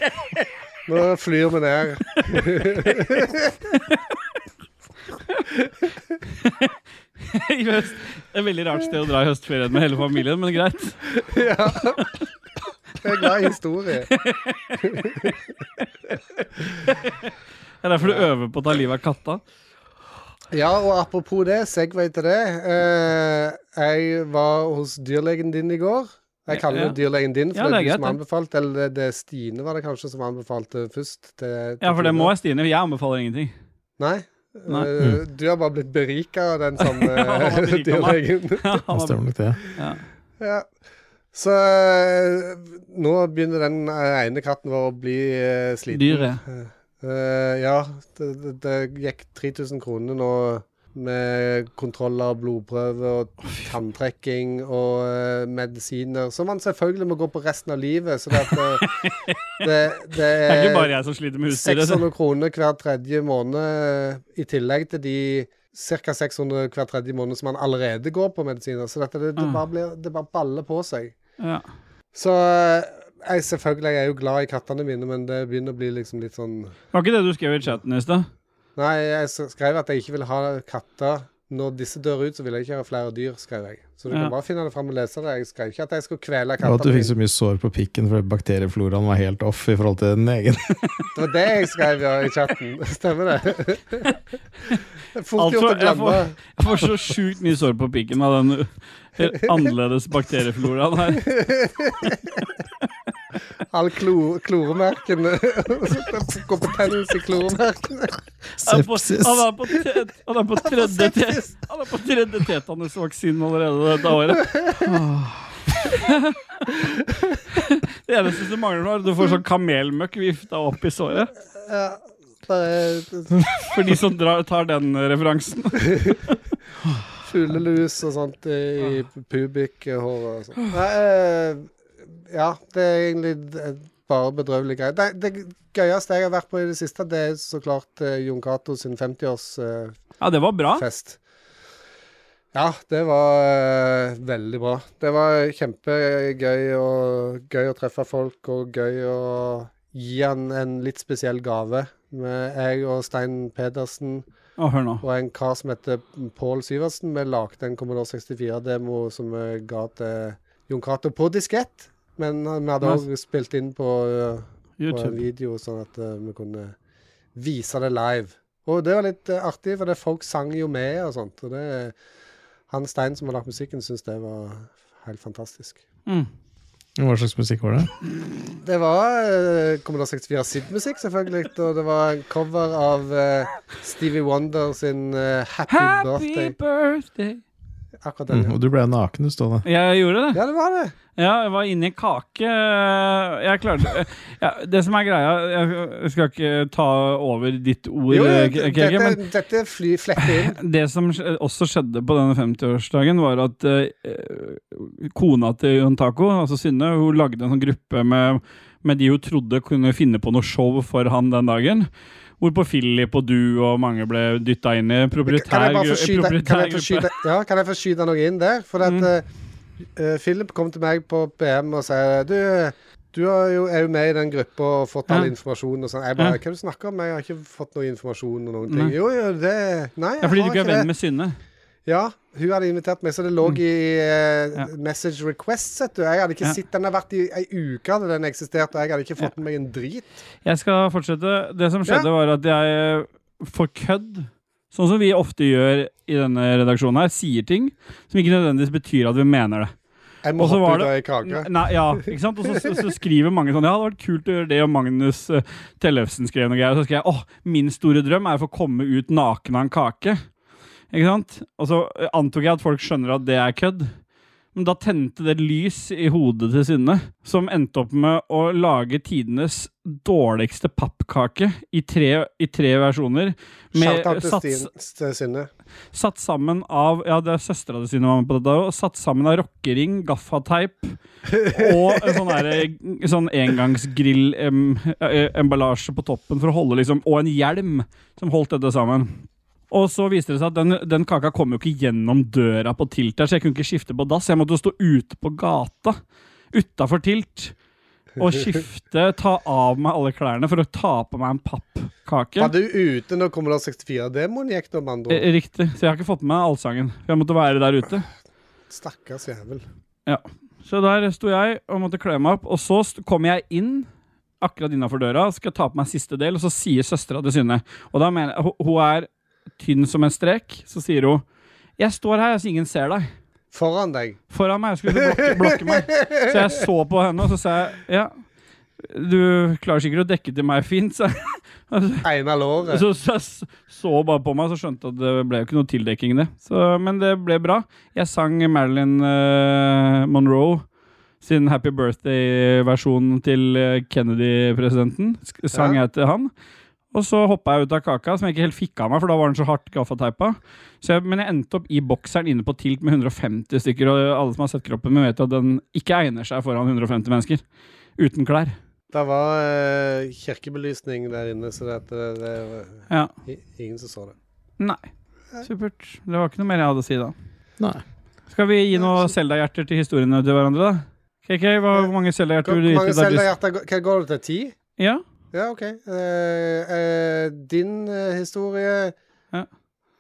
Nå flyr vi ned. i høst. Det er et veldig rart sted å dra i høstferien med hele familien, men greit. Ja. Jeg er glad i historie. Det er derfor du øver på å ta livet av katta. Ja, og apropos det, segway til det. Eh, jeg var hos dyrlegen din i går. Jeg kaller Ja. det dyrlegen din, for Ja, det det er er du som greit, anbefalte. Eller det er Stine var det kanskje som anbefalte først. Til, til Ja, for det Tone. må jeg, Stine. Jeg anbefaler ingenting. Nei. Nei. Eh, Du har bare blitt berika av den samme han har beriket meg. dyrlegen. Ja, Han er- stemmer nok det. Ja. Ja. Så eh, nå begynner den eh, ene katten vår å bli eh, sliten. Dyret. Eh, ja, det, det, det gikk 3000 kroner nå med kontroller, blodprøve og tanntrekking og eh, medisiner, som man selvfølgelig må gå på resten av livet. Så det, at, eh, det, det Det er ikke bare jeg som sliter med husdyret. så- 600 kroner hver tredje måned, eh, i tillegg til de ca. 600 hver tredje måned som man allerede går på medisiner. Så dette, det, det, Ah. bare blir, det bare baller på seg. Ja. Så eh, jeg, selvfølgelig, jeg er jo glad i kattene mine, men det begynner å bli liksom litt sånn Var ikke det du skrev i chatten i stad? Nei, jeg s- skrev at jeg ikke vil ha katter. Når disse dør ut, så vil jeg ikke ha flere dyr, skrev jeg. Så du Ja. kan bare finne det fram og lese det. Jeg skrev ikke at jeg skulle kvele Og at du kattene fikk så mine. mye sår på pikken fordi bakteriefloraen var helt off i forhold til din egen. Det var det jeg skrev ja, i chatten. Stemmer det? Det er Fort Altså, gjort å jeg glemme. får- Jeg får så sjukt mye sår på pikken av den helt annerledes bakteriefloraen her. All klo, kloremerkene. Det Går på tennis i kloremerkene. Han er på- Sepsis. Han er på, te- han er på tredje, te- sepsis. han er på tredje tetanusvaksinen allerede dette året. Det eneste som mangler nå, er at du får sånn kamelmøkk vifta opp i såret. Ja, det er For de som drar, tar den referansen. fuglelus og sånt i pubikkhåret og sånt. Nei, eh, ja, det er egentlig d- eh, bare bedrøvelige greier. Det, det gøyeste jeg har vært på i det siste, det er så klart eh, Jon Cato sin 50-årsfest. Ja, det var bra. Fest. Ja, det var eh, veldig bra. Det var kjempegøy og gøy å treffe folk, og gøy å gi han en litt spesiell gave. Med jeg og Stein Pedersen Å, hør nå. og en kar som heter Pål Syversen, vi lagde en Commodore 64-demo som vi ga til Jon Cato på diskett. Men eh, vi hadde Nice. òg spilt inn på eh, på en YouTube. video, sånn at eh, vi kunne vise det live. Og det var litt eh, artig, for det folk sang jo med og sånt. Og det, han Stein som har lagt musikken, syns det var helt fantastisk. Mm. Hva slags musikk var det? Det var uh, Commodore 64 Sid-musikk, selvfølgelig. Og det var en cover av eh, Stevie Wonder sin eh, Happy, Happy Birthday. birthday! Akkurat den. Mm, og du ble naken, du, Ståle. Jeg gjorde det. Ja, det var det. Ja, jeg var inni en kake. Jeg klarte ja, Det som er greia Jeg skal ikke ta over ditt ord, Jo, jo, K- Keke, eh, men dette, dette fly fletter inn. Det som skj- også skjedde på denne 50-årsdagen, var at eh, kona til Jon Taco, altså Synne, hun lagde en sånn gruppe med, med de hun trodde kunne finne på noe show for han den dagen. Hvorpå Philip og du og mange ble dytta inn i Kan proprietær, jeg bare gru- få skyte, kan proprietær jeg få gruppe. skyte, ja, kan jeg få skyte noe inn der? For Mm. at eh, eh, Philip kom til meg på BM og sa Du, du er jo, er jo med i den gruppa og fått all Ja. informasjon og sånn. Jeg bare Ja. Hva er det du snakker om? Jeg har ikke fått noe informasjon og noen Nei. ting. Jo, jo, det Nei, jeg Ja, fordi du har ikke er venn det. med Synne. Ja, hun hadde invitert meg, så det lå i eh, Ja. message request, vet du. Jeg hadde ikke Ja. sett Den har vært i ei uke, hadde den eksistert, og jeg hadde ikke fått med meg en drit. Jeg skal fortsette. Det som skjedde, var at jeg eh, for kødd, sånn som vi ofte gjør i denne redaksjonen her, sier ting som ikke nødvendigvis betyr at vi mener det. Jeg må Og så hoppe var ut av ei kake. Nei, ja, ikke sant? Og så, så, så skriver mange sånn Ja, det hadde vært kult å gjøre det, og Magnus eh, Tellefsen skrev noe greier. Og så skrev jeg åh, min store drøm er å få komme ut naken av en kake. Ikke sant? Og så eh, antok jeg at folk skjønner at det er kødd. Men da tente det et lys i hodet til Synne, som endte opp med å lage tidenes dårligste pappkake i tre, i tre versjoner. Med Shout-out til sats, Stin- til Synne. Satt sammen av Ja, det er søstera til Synne var med på dette. Og satt sammen av rockering, gaffateip og en sånn derre- sånn engangsgrillemballasje på toppen for å holde liksom Og en hjelm som holdt dette sammen. Og så viste det seg at den, den kaka kom jo ikke gjennom døra på Tilt her, så jeg kunne ikke skifte på dass. Jeg måtte jo stå ute på gata utafor Tilt og skifte, ta av meg alle klærne for å ta på meg en pappkake. Var du ute når Commodore 64-demoen gikk, nå, med andre ord? Eh, Riktig. Så jeg har ikke fått med meg allsangen. for Jeg måtte være der ute. eh. Stakkars jævel. Så der sto jeg og måtte kle meg opp. Og så st- kom jeg inn akkurat innafor døra, skal ta på meg siste del, og så sier søstera til Synne Og da mener jeg, hun- Hun er tynn som en strek. Så sier hun 'Jeg står her, så ingen ser deg'. Foran deg. Foran meg. Jeg skulle til å blokke, blokke meg. Så jeg så på henne, og så sa jeg 'Ja, du klarer sikkert å dekke til meg fint', sa jeg. Einar Låret. Så, så, så bare på meg, så skjønte jeg at det ble jo ikke noe tildekking, det. Så, men det ble bra. Jeg sang Marilyn eh, Monroe sin Happy Birthday-versjon til eh, Kennedy-presidenten. Sk- Sang Ja. jeg til han. Og så hoppa jeg ut av kaka, som jeg ikke helt fikk av meg, for da var den så hardt gaffateipa. Så jeg, men jeg endte opp i bokseren inne på tilt med 150 stykker, og alle som har sett kroppen min, vet at den ikke egner seg foran 150 mennesker. Uten klær. Det var eh, kirkebelysning der inne, så det, det, det var Ja. i- ingen som så det. Nei. Supert. Det var ikke noe mer jeg hadde å si da. Nei. Skal vi gi noen Selda-hjerter til historiene til hverandre, da? KK, hva, hvor mange Hvor Selda-hjerter vil du hvor gi mange til Dargis? selgerhjerter går- hva går det til? Ti? Ja? Ja, OK. Eh, eh, din eh, historie Ja.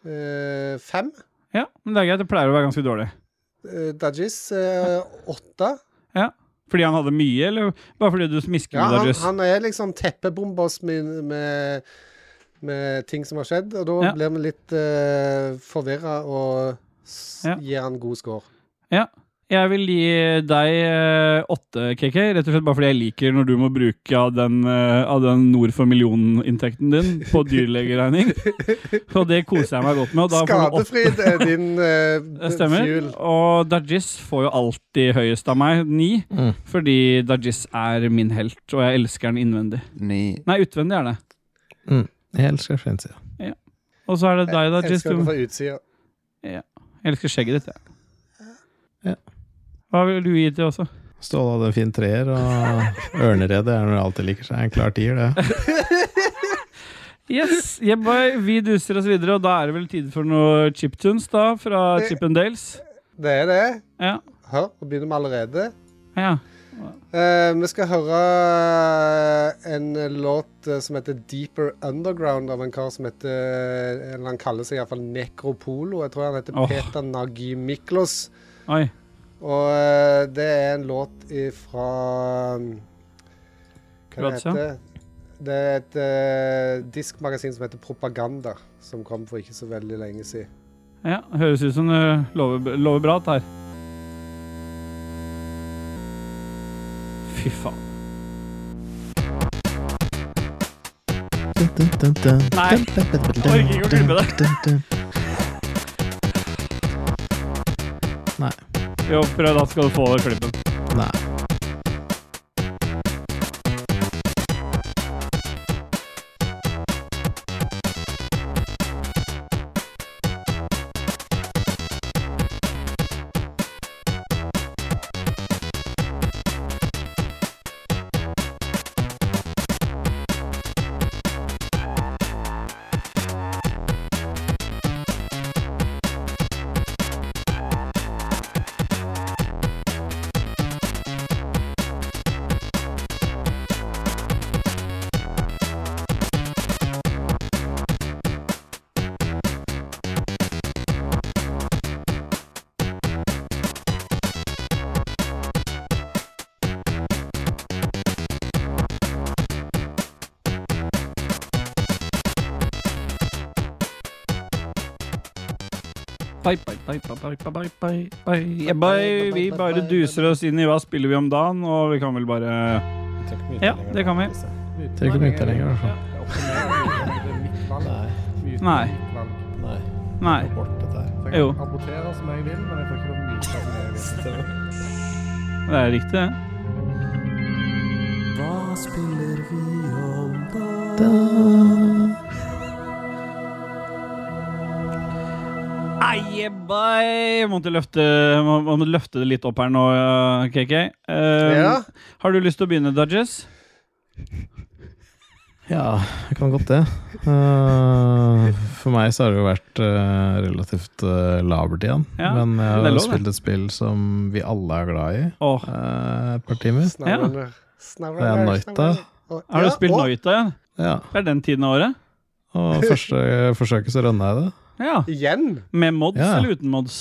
eh, fem. ja, men det er greit. Det pleier å være ganske dårlig. Uh, Dajis eh, åtte. Fordi han hadde mye, eller bare fordi du smisker Ja, med han, Dargis? han er liksom teppebomba oss med, med, med ting som har skjedd, og da Ja. blir vi litt uh, forvirra og s Ja. gir han god score. Jeg vil gi deg eh, åtte, KK, rett og slett bare fordi jeg liker når du må bruke av den, eh, av den nord for millionen-inntekten din på dyrlegeregning. Så det koser jeg meg godt med. Og da får du åtte. Skadefryd er din Det uh, stemmer. fuel. Og Dargis får jo alltid høyest av meg, ni, Mm. fordi Dargis er min helt, og jeg elsker han innvendig. Ni. Nei, utvendig er det. Jeg elsker fremtida. Og så er det deg, da. Jeg Jess. elsker det Du fra utsida. jeg elsker skjegget ditt, jeg. Ja. Hva vil du gi til også? Ståle hadde en fin treer, og ørneredet er noe jeg alltid liker seg. En klar tier, det. Yes, yeah boy, vi duser oss videre, og da er det vel tid for noe chiptunes da, fra Det- Chip and Dales. Det er det. Ja, Hør, nå begynner vi allerede. ja. Eh, vi skal høre en låt eh, som heter 'Deeper Underground' av en kar som heter eh, eller Han kaller seg iallfall Nekropolo. Jeg tror han heter Åh. Peter Nagi Miklos. Oi. Og eh, det er en låt fra Kroatia? Det er et eh, diskmagasin som heter Propaganda, som kom for ikke så veldig lenge siden. Ja, høres ut som det lover, lover bra dette her. Fy faen. Nei. Orker ikke å klippe det. Jo, prøv da, skal du få klippen. Nei. Bye, bye, bye, bye, bye, bye, bye, bye. Yeah, bye. Vi bare duser oss inn i hva spiller vi om dagen, og vi kan vel bare Ja, det kan vi. Trenger ikke å vente lenger, i hvert fall. Nei. Nei. Nei. Nei. Bort dette her. Jo. Rapportere som jeg vil, men jeg får ikke lov å myte som jeg vil. Det er riktig, det. Eiebei! Måtte løfte, må, må løfte det litt opp her nå, ja, KK. Eh, Ja, Har du lyst til å begynne, Dodges? Ja, jeg kan godt det. Eh, for meg så har det jo vært eh, relativt uh, labert igjen. Ja, Men jeg har det er lov, det. spilt et spill som vi alle er glad i. Åh, eh, et par timer. snarere. Det er Noita. har du spilt Noita igjen? Ja. Det er den tiden av året? Og første forsøket så rønna jeg det. Ja. Igjen? Med mods Ja. eller uten mods?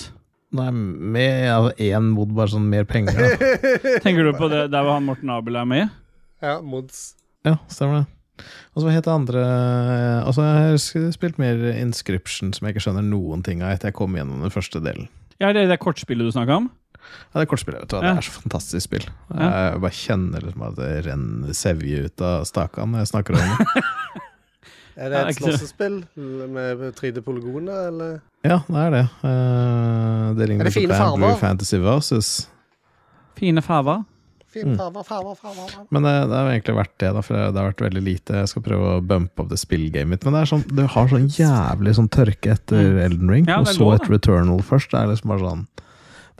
Nei, med ja, én mod, bare sånn mer penger. Da. Tenker du på det der hvor han Morten Abel er med? Ja, Mods. Ja, stemmer det. Og så hva het det andre eh, Og så har jeg sk- spilt mer Inscription, som jeg ikke skjønner noen ting av etter jeg kom gjennom den første delen. Ja, det er det kortspillet du snakka om? Ja, det er kortspillet, vet du. hva, Ja. Det er så fantastisk spill. Ja. Jeg bare kjenner liksom at det renner sevje ut av staka når jeg snakker om det. Ja, Er det et ikke sant. slåssespill med 3D-polygoner, eller? ja, det er det. Eh, det Er ligner det på fine Grand farver? Blue Fantasy Versus. Fine fava. Fine Mm. farver, farver, farver. farver. Men det, det har egentlig vært det, da, for det har vært veldig lite. Jeg skal prøve å bumpe opp det spillgamet mitt. Men det er sånn, du har sånn jævlig sånn tørke etter Elden Ring, Mm. Ja, og det er så lov, et Returnal først. Det er liksom bare sånn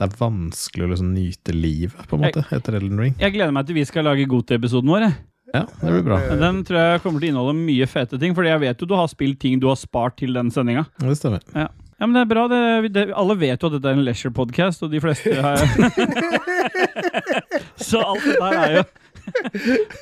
Det er vanskelig å liksom nyte livet, på en måte, etter Elden Ring. Jeg gleder meg til vi skal lage Godte-episoden vår. jeg. Ja, det blir bra. Den tror jeg kommer til å inneholde mye fete ting, Fordi jeg vet jo du har spilt ting du har spart til den sendinga. Det stemmer. Ja, men det er bra. Det, det, alle vet jo at dette er en leisure podcast, og de fleste har Så alt dette her er jo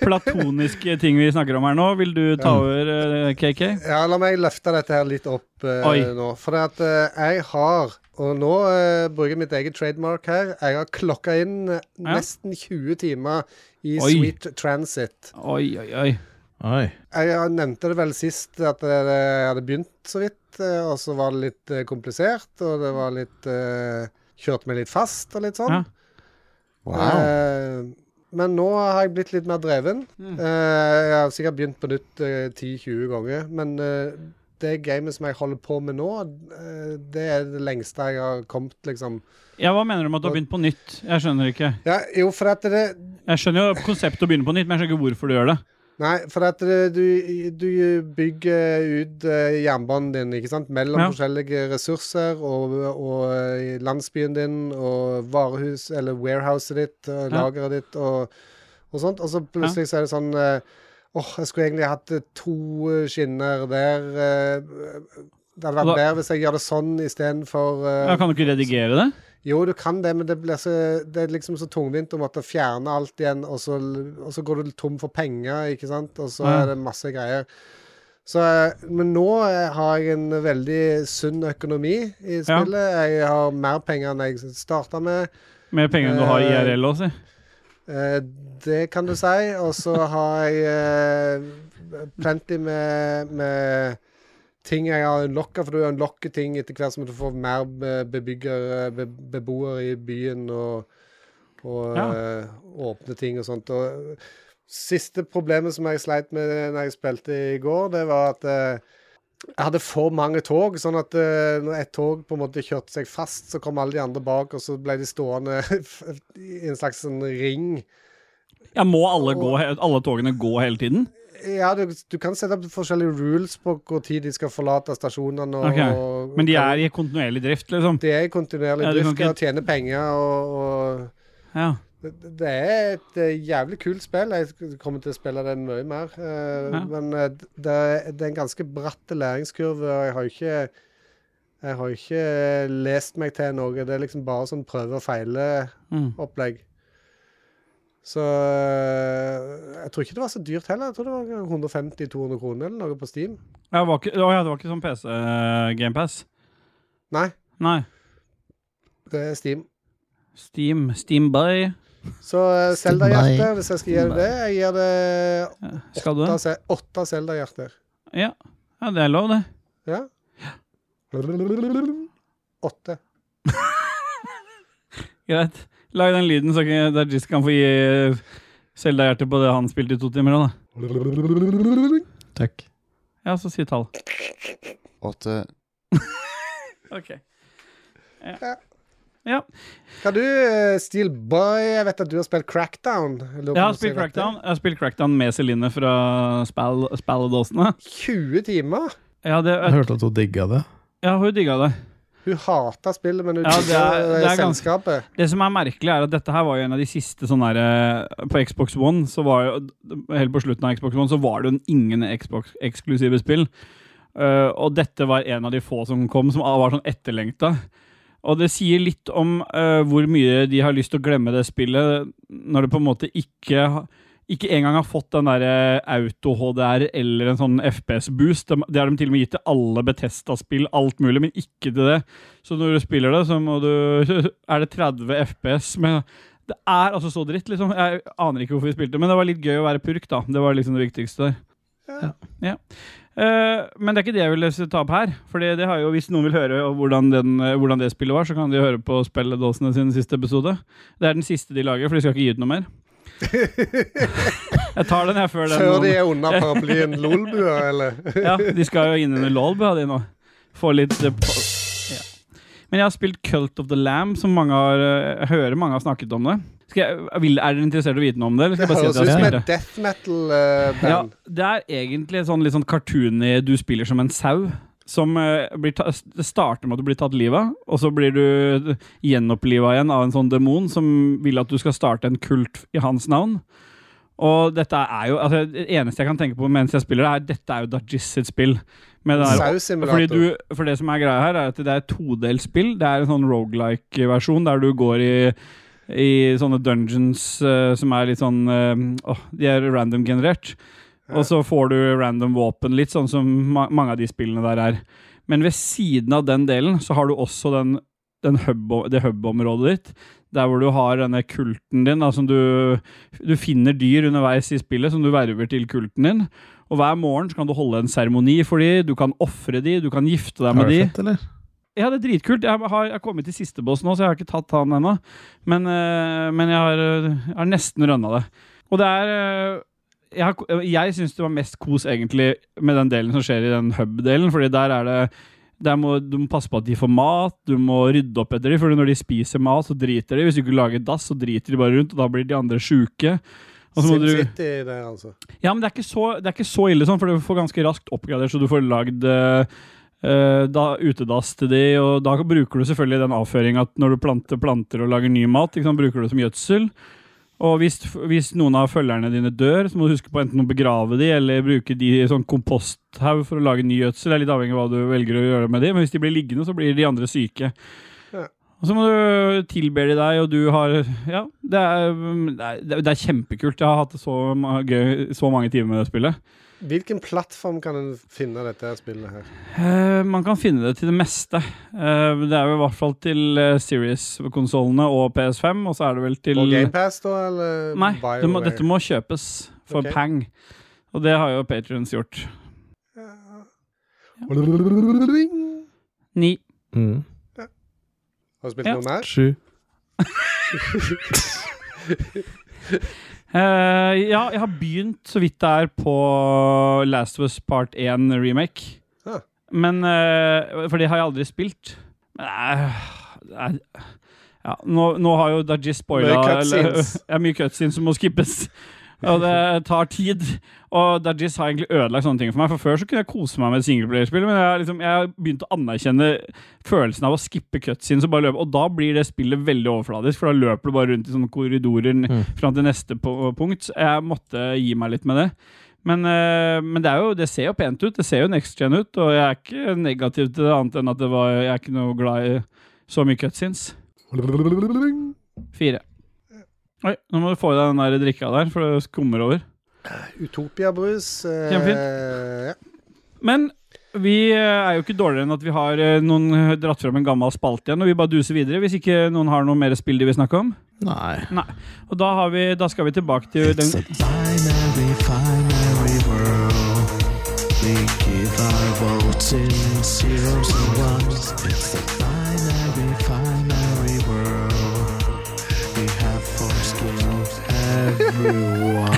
platoniske ting vi snakker om her nå. Vil du ta over, eh, KK? Ja, la meg løfte dette her litt opp eh, Oi. nå. For det at eh, jeg har Og nå eh, bruker jeg mitt eget trademark her. Jeg har klokka inn eh, Ja. nesten 20 timer i Oi. Sweet Transit. Oi, oi, oi. Oi. Jeg har- nevnte det vel sist at det- jeg hadde begynt så vidt, eh, og så var det litt eh, komplisert, og det var litt eh, Kjørte meg litt fast og litt sånn. Ja. Eh, men nå har jeg blitt litt mer dreven. Eh, jeg har sikkert begynt på nytt eh, 10-20 ganger. Men eh, det gamet som jeg holder på med nå, eh, det er det lengste jeg har kommet, liksom. Ja, Hva mener du med at du har begynt på nytt? Jeg skjønner ikke. Ja, jo, for at det Jeg skjønner jo konseptet å begynne på nytt, men jeg skjønner ikke hvorfor du gjør det. Nei, for at det- du, du bygger ut eh, jernbanen din, ikke sant? Mellom Ja. forskjellige ressurser og, og eh, landsbyen din og varehus, eller warehouset ditt, eh, Ja. lageret ditt og, og sånt. Og så plutselig så er det sånn eh, Åh, jeg skulle egentlig hatt eh, to eh, skinner der. eh, Det Og da- hadde vært bedre hvis jeg gjør det sånn istedenfor uh, Ja, kan du ikke redigere det? Jo, du kan det, men det, blir så, det er liksom så tungvint å måtte fjerne alt igjen, og så, og så går du tom for penger, ikke sant, og så Ja. er det masse greier. Så, eh, men nå eh, har jeg en veldig sunn økonomi i spillet. Jeg har mer penger enn jeg starta med. Med pengene du har i IRL også? si. Eh, Det kan du si. Og så har jeg eh, plenty med, med ting jeg har unlocka, for du unlocker ting etter hvert som du får mer be- bebyggere, be, beboere i byen, og, og Ja. eh, åpne ting og sånt. Og siste problemet som jeg sleit med når jeg spilte i går, det var at eh, jeg hadde for mange tog, sånn at eh, når et tog på en måte kjørte seg fast, så kom alle de andre bak, og så ble de stående i en slags sånn ring. Ja, må alle, gå, he- alle togene gå hele tiden? Ja, du, du kan sette opp forskjellige rules på hvor tid de skal forlate stasjonene. Og, Ok, og, Men de er i kontinuerlig drift, liksom? Det er i kontinuerlig Ja, du kan drift ikke- og tjener penger og, og Ja. det det er et eh, jævlig kult spill. Jeg kommer til å spille det mye mer. eh, Ja. Men eh, d- det, er- det er en ganske bratt læringskurve, og jeg har jo ikke jeg har jo ikke lest meg til noe. Det er liksom bare sånn prøve og feile-opplegg. Mm. Så eh, Jeg tror ikke det var så dyrt heller. Jeg tror det var 150-200 kroner eller noe på Steam. Ja, det var ikke, å ja, det var ikke sånn PC-gamepass? Nei, Nei. det er Steam. Steam. Steamby. Så Selda-hjerte, hvis jeg skal gi det det, jeg gir det Eh, Skal du det? åtte se- åtte Selda-hjerter. Ja. ja, det er lov, det. Ja. Åtte. Greit. Lag den lyden, så kan- Dajis kan få gi Selda hjertet på det han spilte i to timer òg, da. Takk. Ja, så si tall. Åtte. Ok. Kan du, eh, Steel Boy, jeg vet at du har spilt Crackdown. Jeg lurer på Jeg har om spilt du sier dette. Crackdown Jeg har spilt Crackdown med Celine fra Spall- Spalledåsene. 20 timer? Ja, det, Jeg hørte at hun digga det. ja, hun digga det. Hun hater spillet, men hun Ja, det er- digger, eh, det er ganske- selskapet. Det som er merkelig, er at dette her var jo en av de siste sånne der, eh, På Xbox One, så var jo Helt på slutten av Xbox One, så var det jo ingen Xbox-eksklusive spill. Eh, og dette var en av de få som kom, som var sånn etterlengta. Og det sier litt om eh, hvor mye de har lyst til å glemme det spillet, når det på en måte ikke ha- ikke engang har fått den eh, derre auto-HDR eller en sånn FPS-boost. Det det har de til og med gitt til alle Betesta-spill, alt mulig, men ikke til det. Så når du spiller det, så må du Er det 30 FPS med Det er altså så dritt, liksom. Jeg aner ikke hvorfor vi spilte, men det var litt gøy å være purk, da. Det var liksom det viktigste der. Ja. Ja. Eh, men det er ikke det jeg vil ta opp her. For det har jo, hvis noen vil høre om hvordan, den, eh, hvordan det spillet var, så kan de høre på Spelledåsene sin siste episode. Det er den siste de lager, for de skal ikke gi ut noe mer. jeg tar den, jeg, før den. Før de er under paraplyen Lolbua, eller? Ja, de skal jo inn under LOLBA de nå. Få litt eh, po- ja. Men jeg har spilt Cult of the Lamb, som mange har eh, Jeg hører mange har snakket om det. Skal jeg, vil, er dere interessert i å vite noe om det? Eller Det skal jeg bare høres si at ut jeg har som spilt et det? death eh, metal-band. Ja, det er egentlig sånn litt sånn cartoony Du spiller som en sau. Som eh, blir ta det starter med at du blir tatt livet av, og så blir du gjenoppliva igjen av en sånn demon som vil at du skal starte en kult i hans navn. Og dette er jo altså, Det eneste jeg kan tenke på mens jeg spiller det, er dette er jo Dajis sitt spill. Med det her fordi Sausimulator. du, for det som er greia her, er at det er et todelt spill. Det er en sånn rogelike-versjon der du går i, i sånne dungeons eh, som er litt sånn eh, åh, De er random-generert. Og så får du random våpen, litt sånn som ma mange av de spillene der er. Men ved siden av den delen så har du også den, den hub, det hub-området ditt. Der hvor du har denne kulten din, da, som du, du finner dyr underveis i spillet som du verver til kulten din. Og hver morgen så kan du holde en seremoni for de, du kan ofre de, du kan gifte deg Har med du de. sett, eller? Ja, det er dritkult. Jeg har, jeg har kommet til siste boss nå, så jeg har ikke tatt han ennå. Men, eh, men jeg, har, eh, jeg har nesten rønna det. Og det er eh, Jeg, har ko- jeg syns det var mest kos egentlig med den delen som skjer i den hub-delen, fordi der er det der må, du må passe på at de får mat, du må rydde opp etter dem. For når de spiser mat, så driter de. Hvis du ikke lager dass, så driter de bare rundt, og da blir de andre sjuke. Og så må du- SimCity der, altså. ja, men det er ikke så, det er ikke så ille sånn, for du får ganske raskt oppgradert, så du får lagd eh, eh, da, utedass til de, og da bruker du selvfølgelig den avføringa at når du planter planter og lager ny mat, ikke sant, bruker du det som gjødsel. Og hvis, hvis noen av følgerne dine dør, så må du huske på enten å begrave de, eller bruke de i sånn komposthaug for å lage ny gjødsel. Det er litt avhengig av hva du velger å gjøre med de, men hvis de blir liggende, så blir de andre syke. Ja. Og så må du tilbe de deg, og du har Ja, det er, mm, det er, det er kjempekult. Jeg har hatt det så ma- gøy så mange timer med det spillet. Hvilken plattform kan en finne dette her spillet her? Eh, man kan finne det til det meste. Eh, det er jo i hvert fall til eh, Series-konsollene og PS5, og så er det vel til På GamePass, da? Eller Nei, BioWare? det må, dette må kjøpes for Ok. pang. Og det har jo Patrions gjort. Ni. Mm. Har du spilt Ja. noe mer? Sju. Eh, ja, jeg har begynt så vidt det er på Last of Us Part 1 remake. Ja. Men eh, For det har jeg aldri spilt. Men det er- det er- ja, nå, nå har jo Daji spoila Mye eller- cutscenes. Ja, mye cutscenes som må skippes. Og det tar tid. Og Dajis har egentlig ødelagt sånne ting for meg. For før så kunne jeg kose meg med singleplayerspill, men jeg har liksom, jeg har begynt å anerkjenne følelsen av å skippe cutscenes og bare løpe. Og da blir det spillet veldig overfladisk, for da løper du bare rundt i sånne korridorer fram til neste po- punkt. Jeg måtte gi meg litt med det. Men, eh, men det, er jo, det ser jo pent ut. Det ser jo next gen ut. Og jeg er ikke negativ til det, annet enn at det var, jeg er ikke noe glad i så mye cutscenes. Fire. Oi, nå må du få i deg den der drikka der, for det skummer over. Utopia-brus. Eh, Kjempefint. ja. Men vi eh, er jo ikke dårligere enn at vi har eh, noen eh, dratt frem en gammel spalt igjen, og vi bare duser videre hvis ikke noen har noe mer spill de vil snakke om. Nei. Og da, har vi, da skal vi tilbake til den binary, binary world. We give our votes in zeros and ones. It's a binary, binary world. We have foreskin everyone.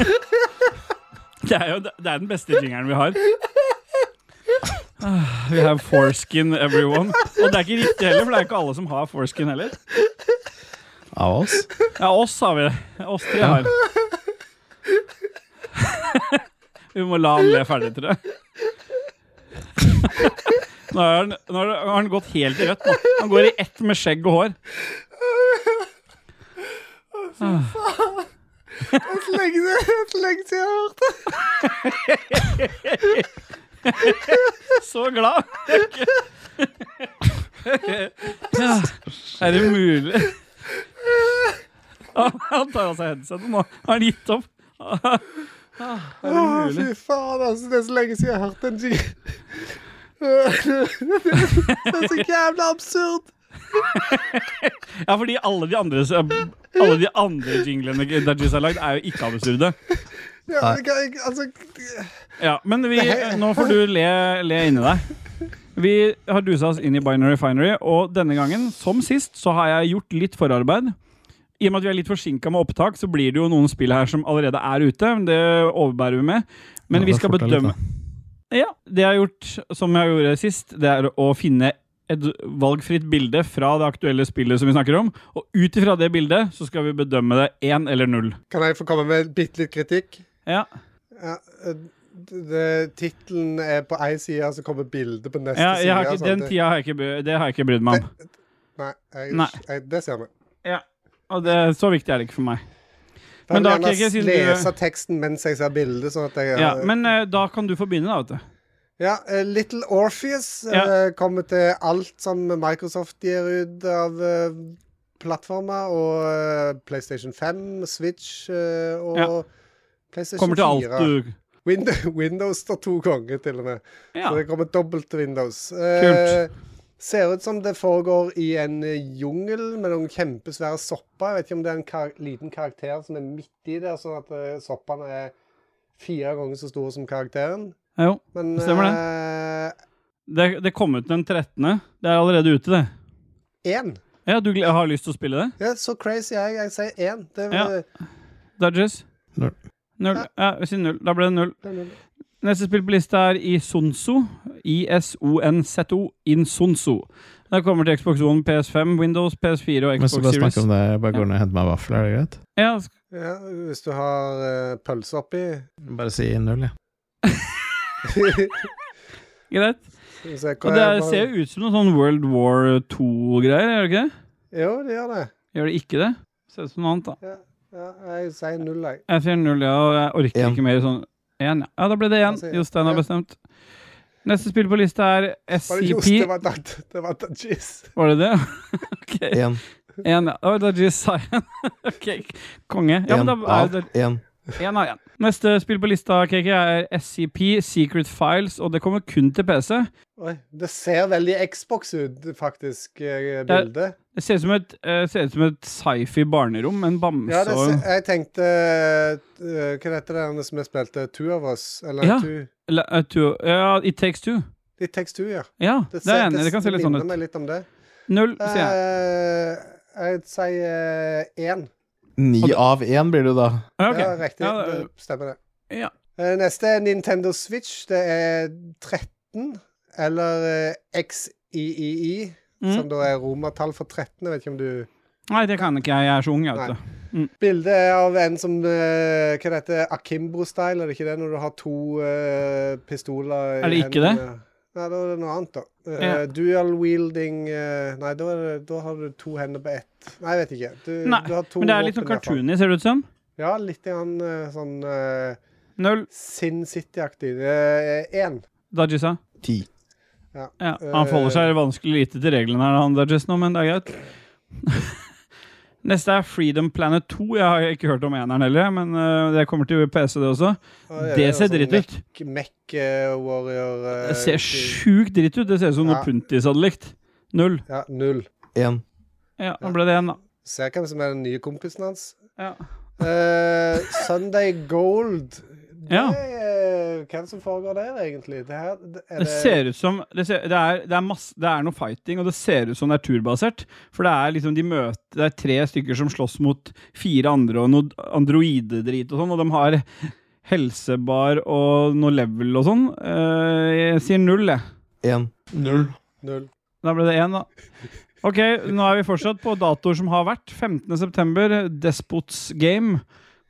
Det er jo det er den beste jingeren vi har. Ah, We have foreskin, everyone. Og det er ikke riktig heller, for det er ikke alle som har foreskin heller. Av oss? Ja, oss har vi det. Oss tre har. Vi må la han le ferdig, tror jeg. Nå har han, nå har han- nå har han gått helt i rødt. Nå. Han går i ett med skjegg og hår. Så lenge siden- så lenge siden jeg har hørt det. Så glad! Ja, er det mulig? Ah, Han tar av seg headsetet nå. Har han gitt opp? Ah, Er det Å, mulig? fy faen, altså. Det er så lenge siden jeg har hørt den jingle. det er så jævla absurd. Ja, fordi alle de andre, alle de andre jinglene Dajis har lagd, er jo ikke absurde. Ja, jeg, jeg, altså, Ja, men vi, nå får du le, le inni deg. Vi har dusa oss inn i Binary Finery, og denne gangen, som sist, så har jeg gjort litt forarbeid. I og med at vi er litt forsinka med opptak, så blir det jo noen spill her som allerede er ute. Men det overbærer vi med. Men Ja, vi da skal forter jeg litt, bedømme Ja, det jeg har gjort, som jeg gjorde sist, det er å finne et valgfritt bilde fra det aktuelle spillet som vi snakker om, og ut ifra det bildet så skal vi bedømme det én eller null. kan jeg få komme med bitte litt kritikk? Ja, Ja, eh, det- Tittelen er på én side, så kommer bildet på neste ja jeg har side. altså, ikke, Den tida har jeg ikke, bry- det har jeg ikke brydd meg om. Nei, jeg, Nei. Jeg, det ser vi. Og det, så viktig er det ikke for meg. Da Men vil da jeg kan jeg gjerne ikke si du- lese teksten mens jeg ser bildet. Sånn at jeg, Ja, men eh, da kan du få begynne, da. vet du Ja, eh, Little Orpheus eh, Ja. kommer til alt som Microsoft gir ut av eh, plattformer, og eh, PlayStation 5, Switch eh, og Ja. PlayStation 4. Kommer til alt du Windows, Windows står to ganger, til og med. Ja. Så det kommer dobbelt til Windows. Eh, Kult. Ser ut som det foregår i en eh, jungel med noen kjempesvære sopper. Jeg vet ikke om det er en kar liten karakter som er midt i der, sånn at eh, soppene er fire ganger så store som karakteren. Ja, Jo. Men Stemmer det. Det, det kom ut den 13. Det er allerede ute, det. Én. Ja, du gl- har lyst til å spille det? Det er eh, så crazy jeg, jeg sier én. Det, Ja. Dudges? Null. Null. Ja, vi sier null. Da ble det null. det, det, Neste spill på lista er Isonzo. I-S-O-N-Z-O. Insonzo. Det kommer til Xbox One, PS5, Windows, PS4 og Mens du Xbox bare snakker Series. om det, jeg bare går ned og henter meg vafler, er det greit? Ja, sk- ja, hvis du har eh, pølse oppi Bare si null, jeg. greit. Så jeg- Og det er, ser jo ut som noe sånn World War 2-greier, gjør det ikke det? Jo, det gjør det. Gjør det ikke det? Ser ut som noe annet, da. Ja, jeg sier null, jeg. Jeg sier null, ja, og jeg orker En. ikke mer sånn én. Ja. ja, da ble det én. Altså, ja. Jostein har Ja. bestemt. Neste spill på lista er Var det Johs? Det SCP. var Dad- Det var Dajis. Var det det? ok. Én Én, ja. Da var det Dodges Cyan. ok, konge. Ja, men en da er av det en én av én. Neste spill på lista KK, er SCP, Secret Files, og det kommer kun til PC. Oi, det ser veldig Xbox ut, faktisk, eh, bildet. Det ser ut som et, eh, ser ut som et sci-fi barnerom, med en bamse Ja, det og ser, jeg tenkte eh, Hva heter det der som vi spilte? Two of Us? Eller Ja. Two Eller, eh, to- Ja, It Takes Two. Litt tekst two, ja. Ja, det, er jeg enig. i. Det kan se litt sånn minner ut. meg litt om det. Null, sier jeg. Eh, jeg sier eh, én. Og Ni det- av én blir du, da. Ja, ok. Eh, Ja, riktig. Ja, det- det stemmer, det. Ja. Eh, neste er Nintendo Switch. Det er 13, eller eh, XIII, som Mm. da er romertall for 13. Jeg vet ikke om du Nei, det kan ikke jeg. Jeg er så ung, jeg, vet du. Nei. Bildet er av en som eh, Hva det heter det? Akimbo-style, er det ikke det? Når du har to eh, pistoler Er det ikke det? Nei, da er det noe annet, da. Eh, Ja. Dual-wielding eh, Nei, da, er det, da har du to hender på ett. Nei, jeg vet ikke. Du, Nei, du har to Men det er litt sånn våpen i hvert fall. cartoony, ser det ut som. Ja, litt grann, eh, sånn eh, Null. Sin City-aktig. Én. Dajisa. Ti. Ja, eh, han forholder seg vanskelig lite til reglene her, han Dajis nå, men det er greit. Neste er Freedom Planet 2. Jeg har ikke hørt om eneren heller, men eh, det kommer til PC, det også. Det ser sånn dritt ut. eh, Mech-warrior Det ser sjukt dritt ut. Det ser ut som noe eh, Ja. Puntis hadde likt. Null. Ja, null. En Ja, da ble det én, da. Ser hvem som er den nye kompisen hans. Ja. Eh, Sunday Gold. Det Ja. er, hvem som foregår der, egentlig? Det her, det- er Det ser ut som det, ser, det, er, det, er masse, det er noe fighting, og det ser ut som det er turbasert. For det er liksom de møter Det er tre stykker som slåss mot fire andre og noe androidedrit og sånn, og de har helsebar og noe level og sånn. Eh, jeg sier null, jeg. en Null. null. Da ble det én, da. Ok, nå er vi fortsatt på datoer som har vært. 15.9. Despots Game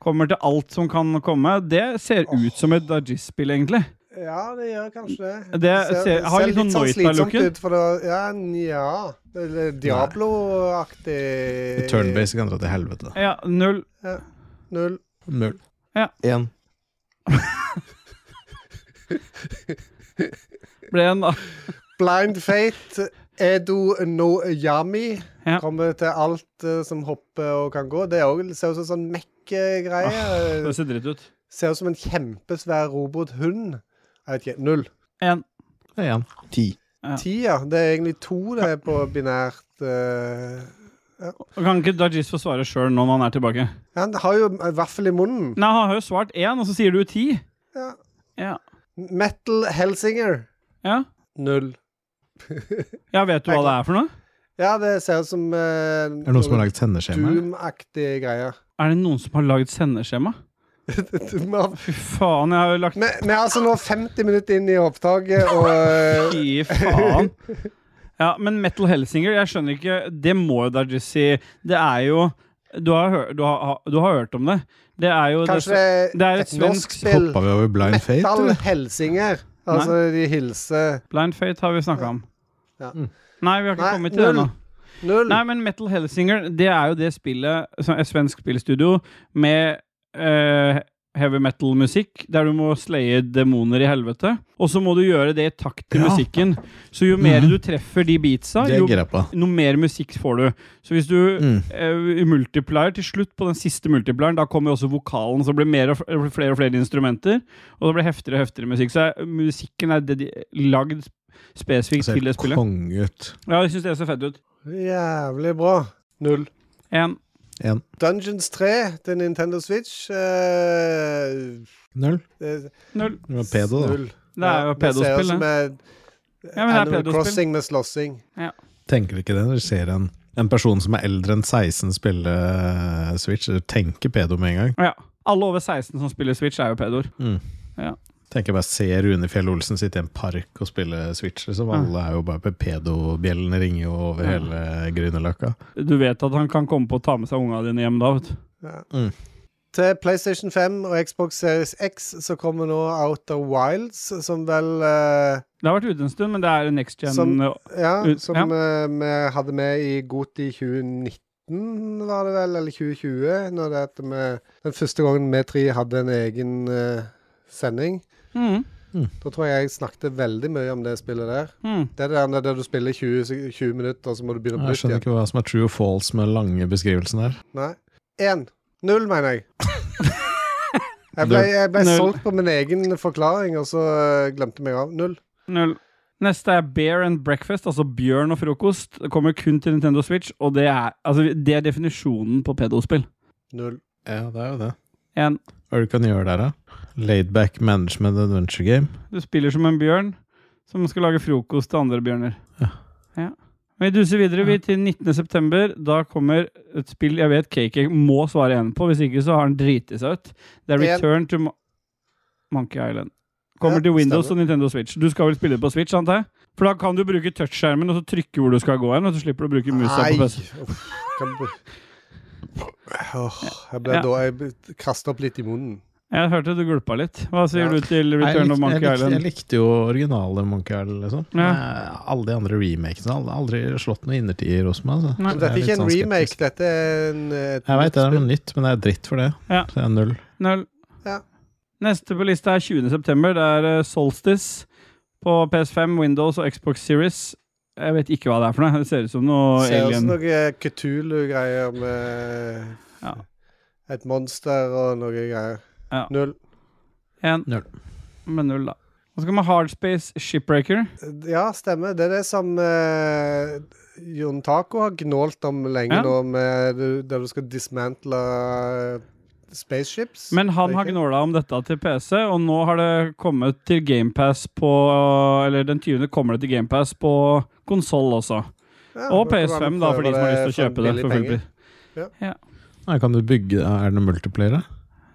kommer til alt som kan komme. Det ser ut som et Dajis-spill, egentlig. Ja, det gjør kanskje det. Det ser- har litt sånn Noita-looken. ut. For det, ja, nja Det er litt Diablo-aktig. Turnbase kan dra til helvete. Ja, null. Null. Null. en Ble en, da. Blind Fate, Edo no Yami. Ja. Kommer til alt eh, som hopper og kan gå. Det er også, ser ut som sånn Mech-greie. Det ser dritt ut. Ser ut som en kjempesvær robothund. Jeg vet ikke. Null. En. En. ti. Ja. Ti, ja. Det er egentlig to det er på binært. eh. Og Kan ikke Dajis få svare sjøl når han er tilbake? Han har jo vaffel i munnen. Nei, Han har jo svart én, og så sier du ti. Ja. Ja. Metal Helsinger. ja. Null. ja, vet du hva det er for noe? Ja, det ser ut som eh, Er det noen som har lagd sendeskjema? Doom-aktige greier. Er det noen som har lagd sendeskjema? Vi har- Fy faen, jeg har jo lagt vi vi er altså nå 50 minutter inn i opptaket, og eh, Fy faen. Ja, men Metal Helsinger, jeg skjønner ikke Det må jo Dajis si. Det er jo du har, hør, du, har, du har hørt om det. Det er jo kanskje det, det det er er et et norsk svensk spill. Hoppa vi over blind fate, Metal eller? Helsinger. Altså, de hilser Blind Fate har vi snakka om. Ja. Nei, vi har ikke Nei, kommet til det null. ennå. Null. Nei, men Metal Hellsinger, det er jo det spillet som- Et svensk spillstudio med eh, heavy metal-musikk, der du må slaye demoner i helvete. Og så må du gjøre det i takt til Ja. Mhm. musikken. Så jo mer du treffer de beatsa, Det jo gira jeg på. noe mer musikk får du. Så hvis du Mm. eh, multiplier til slutt på den siste multiplieren, da kommer jo også vokalen, så blir det mer og fl- flere og flere instrumenter, og det blir heftigere og heftigere musikk. Så er, musikken er dedi- lagd spesifikt Ser til det helt spillet. konge ut. Ja, jeg syns det ser fett ut. Jævlig bra. Null. En, Dungeons 3 til Nintendo Switch. eh, Null. det, null. Du var pedo, da. Null. Det er Ja, jo ser ut pedospill, som det. et Ja, men det er Animal pedospill. Crossing med slåssing. Tenker du ikke det når du ser en, en person som er eldre enn 16 spille eh, Switch? Du tenker pedo med en gang. Ja. Alle over 16 som spiller Switch, er jo pedoer. Tenker bare se Rune Fjell Olsen sitte i en park og spille Switch. Liksom. Ja. Alle er jo bare pedobjellene ringer jo over Ja. hele Grünerløkka. Du vet at han kan komme på å ta med seg unga dine hjem da, vet du. Ja. Mm. Til PlayStation 5 og Xbox Series X så kommer nå Outer Wilds, som vel eh, Det har vært ute en stund, men det er next gen eh, Som- ja. Ja, Ut- som ja. eh, vi hadde med i Goti 2019, var det vel, eller 2020, når det at vi, den første gangen vi tre hadde en egen eh, sending. Mm. Da tror jeg jeg snakket veldig mye om det spillet der. Mm. Det er det der, der du spiller 20, sek- 20 minutter, og så må du begynne på Jeg nytt skjønner igjen. ikke hva som er true og false med lange beskrivelsen her. Nei. Én. Null, mener jeg. Jeg ble, jeg ble Null. solgt på min egen forklaring, og så eh, glemte jeg meg av. Null. Null. Neste er Bear and Breakfast, altså bjørn og frokost. Det kommer kun til Nintendo Switch, og det er, altså, det er definisjonen på pedospill. Null. Ja, det er jo det. En, Hva er det du kan gjøre der, da? Laidback management adventure game. du spiller som en bjørn som skal lage frokost til andre bjørner. Ja. Ja. Vi duser videre vi til 19. september. Da kommer et spill jeg vet Cake må svare igjen på, hvis ikke så har han driti seg ut. Det er En. Return to Mo Monkey Island. Kommer Ja, til Windows stemmer. og Nintendo Switch. Du skal vel spille det på Switch, antar jeg? For da kan du bruke touchskjermen og så trykke hvor du skal gå hen, og så slipper du å bruke musa på PC. Uff, kan du- Åh, jeg ble Ja. da Jeg kastet opp litt i munnen. Jeg hørte du gulpa litt. Hva sier Ja. du til Return of Monkey jeg, likte, jeg Island? likte jo originale Monkey Island, liksom. Ja. Eh, Alle de andre remakene har aldri slått noen innertier hos meg. Altså. Nei. Men dette er Jeg er ikke en litt sånn remake, skeptisk. dette er en eh, et Jeg veit det er nytt noe nytt, men det er dritt for det. Ja. Det er null. Null. Ja. Neste på lista er 20. september. Det er eh, Solstice på PS5, Windows og Xbox Series. Jeg vet ikke hva det er for noe. Det ser ut som noe spill. Ser ut som alien. noe Kutulu-greier med Ja. et monster og noe greier. Ja. Null. En. Null. Med null, da. Og så kommer Hardspace Shipbreaker. Ja, stemmer. Det er det som eh, Jon Taco har gnålt om lenge Ja. nå, med du, der du skal dismantle eh, spaceships. Men han Det er har ikke- gnåla om dette til PC, og nå har det kommet til GamePass på Eller den 20. kommer det til GamePass på konsoll også. Ja, Og da kan PS5, man da, for de som har prøve lyst til å for kjøpe det billig for full penger. pris. Nei, kan du bygge Er det noe multiplayer? da?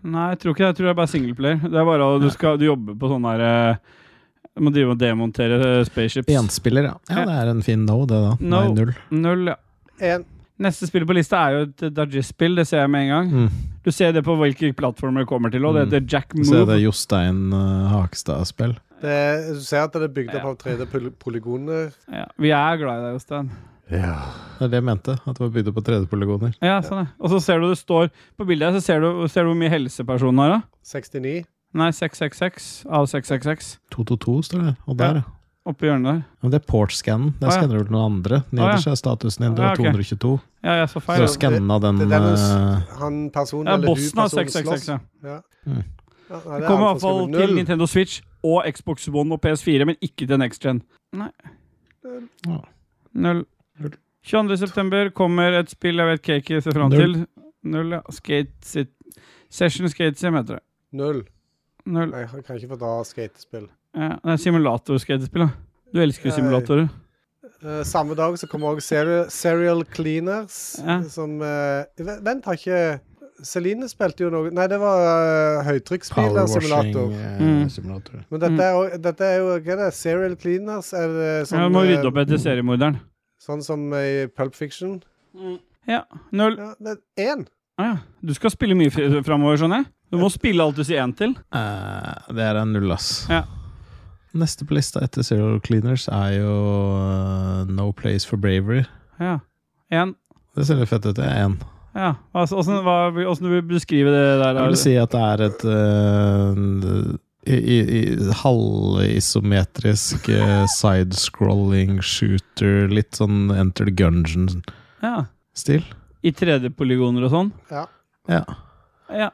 Nei, jeg tror ikke det. Jeg tror det er bare singleplayer. Det er bare å- du, skal, du jobber på sånn der eh, Du må drive og demontere eh, spaceships. Enspiller, ja. Ja, det er en fin no, det, da. No. Nei, null. Null, ja. En, Neste spill på lista er jo et Dajis-spill. Det ser jeg med en gang. Mm. Du ser det på hvilke plattformer det kommer til, og det Mm. heter Jack Så er det Move. Jostein eh, Hakstad-spill. det, du ser at det er bygd opp Ja. av 3D-polygoner. Ja, vi er glad i deg, Jostein. Det er det jeg mente. At det var bygd opp på 3D-polygoner. Ja, sånn, ja. Og så ser du det står på bildet, her, så ser du, ser du hvor mye helsepersonen har, da. 69. Nei, 666 av 666 222 står det. Og der, ja. oppi hjørnet der. Men det er port-scannen. Å, Der ja. skanner du vel noen andre. Nederst er statusen din. Du Ja, har ok. 222. Ja, jeg så Så feil. du ja. har skanna den Det er den eh, s- han personen Ja, eller hun Bossen har personen 666, ja. Ja. Mm. Ja, Det nei, kommer er i han hvert som fall skriver til null. Nintendo Switch og Xbox One og PS4, men ikke til Next Gen. Nei. Ja. Null. 22. september kommer et spill jeg vet Kaki ser fram til. Null. Null, ja. Skate sit. Session Skate Sim heter det. Null. Null. Nei, jeg kan ikke få dra skatespill. Ja, det er simulatorskatespill, da. Du elsker jo Ja, simulatorer. Eh, samme dag så kommer også Serial, serial Cleaners, Ja. som eh, v- Vent, har ikke Celine spilte jo noe Nei, det var uh, høytrykksspillersimulator. eh, Mm. powerwashing-simulator. Men dette er, jo- dette er jo Hva er det? Serial Cleaners? Er det sånn, Ja, du må rydde eh, opp etter seriemorderen. sånn som i Pulp Fiction? Ja. Null. Ja, det er én. Ah, ja. Du skal spille mye framover, skjønner jeg. Du må spille alt du sier én til. Eh, det er en null, ass. Ja. Neste på lista etter Zero Cleaners er jo eh, No Place for Bravery. Ja. En. Det ser litt fett ut. Det er én. Ja. Altså, åssen- hva- åssen vil du beskrive det der? Jeg vil Are? si at det er et eh, i, i, i, halvisometrisk eh, sidescrolling shooter, litt sånn Enter the Gungeon-stil. Ja. I 3D-polygoner og sånn? Ja. Ja. Ja.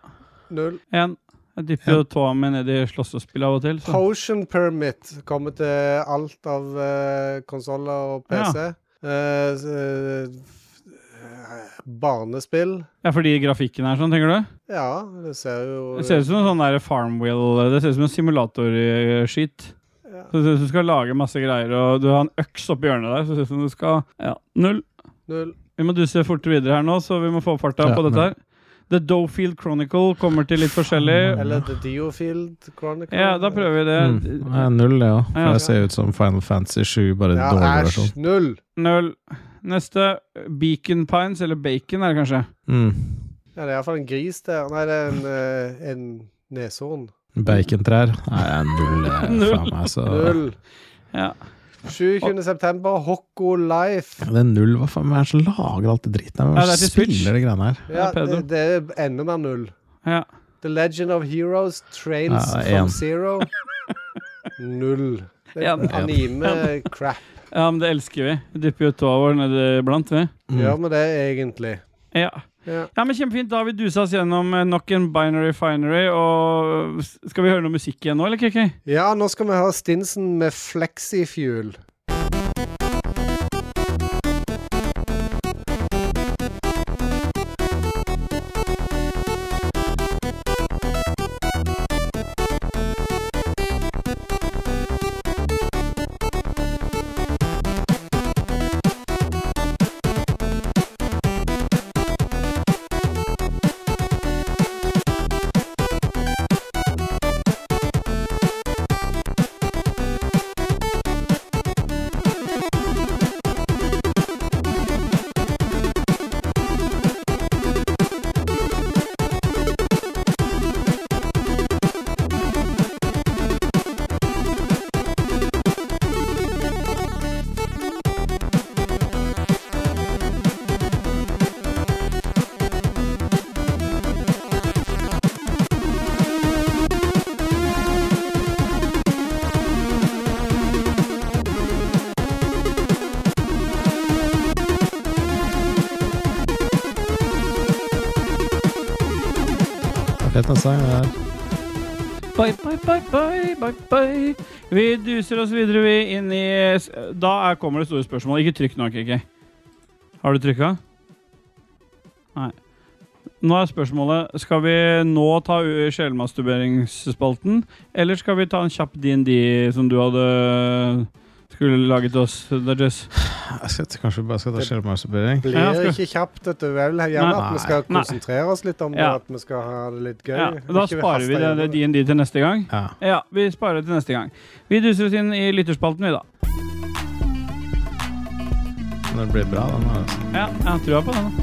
Null. En. Jeg dypper jo tåa mi ned i slåssespill av og til. Så. Potion Permit kommer til alt av uh, konsoller og Ja. PC. Eh, s- eh, barnespill. Ja, fordi grafikken er sånn, tenker du? Ja, det ser jo Det ser ut som en sånn der Farmwheel Det ser ut som en simulatorskit. Ja. Så det ser ut som du skal lage masse greier, og du har en øks oppi hjørnet der. Så det ser ut som du skal Ja, null. Null. Vi må duse fortere videre her nå, så vi må få farta Ja, på dette men- her. The Dofield Chronicle kommer til litt forskjellig. Eller The Deofield Chronicle. Ja, da prøver vi det. Mm. Det er null, ja. For Ja. det ser ut som Final Fantasy 7, bare Ja, ja, dårlig versjon. æsj. Null. Null. Neste Beacon Pines, eller Bacon er det kanskje. Mm. Ja, det er iallfall en gris der. Nei, det er en, eh, en neshorn. Bacontrær. Nei, det er null. det er Null. Faen meg, så Null. Ja. 27. september, Hokko Life. Det er null. Hva faen hvem er det som lager alt det dritten her? Hvem Nei, det er det er til som Switch. spiller de greiene her? Ja, Ja, Pedro. det, det er enda mer null. Ja. The Legend of Heroes, Trails Ja, en. from Zero. Null. Det er En. Anime-crap. ja, men det elsker vi. Vi Dypper jo tåa vår nedi blant, vi. Mm. Gjør vi det, egentlig? Ja. Ja. ja, men Kjempefint. Da har vi dusa oss gjennom eh, nok en Binary Finery. Og Skal vi høre noe musikk igjen nå, eller, KK? ja, nå skal vi ha Stinsen med Flexifuel. Det er Fett en sang. Det er. Bye, bye, bye, bye, bye, bye. Vi duser oss videre vi inn i s- Da er, kommer det store spørsmålet. Ikke trykk nå, KK. Har du trykka? Nei. Nå er spørsmålet Skal vi nå ta u- sjelmasturberingsspalten, eller skal vi ta en kjapp D&D som du hadde skulle lage til oss, Dodges? Jeg skal, kanskje vi bare skal ta Det- sjelmasturbering? Blir Ja, skal- ikke kjapt, vet du. Jeg vil gjerne Nei. at vi skal Nei. konsentrere oss litt om det, Ja. at vi skal ha det litt gøy. Ja, da Ikke sparer vi haste det- gjennom det D&D til neste gang. Ja. Ja, vi sparer det til neste gang. Vi duser oss inn i lytterspalten, vi, da. Men det blir bra, den. her, Altså. Ja, jeg har trua på den. da.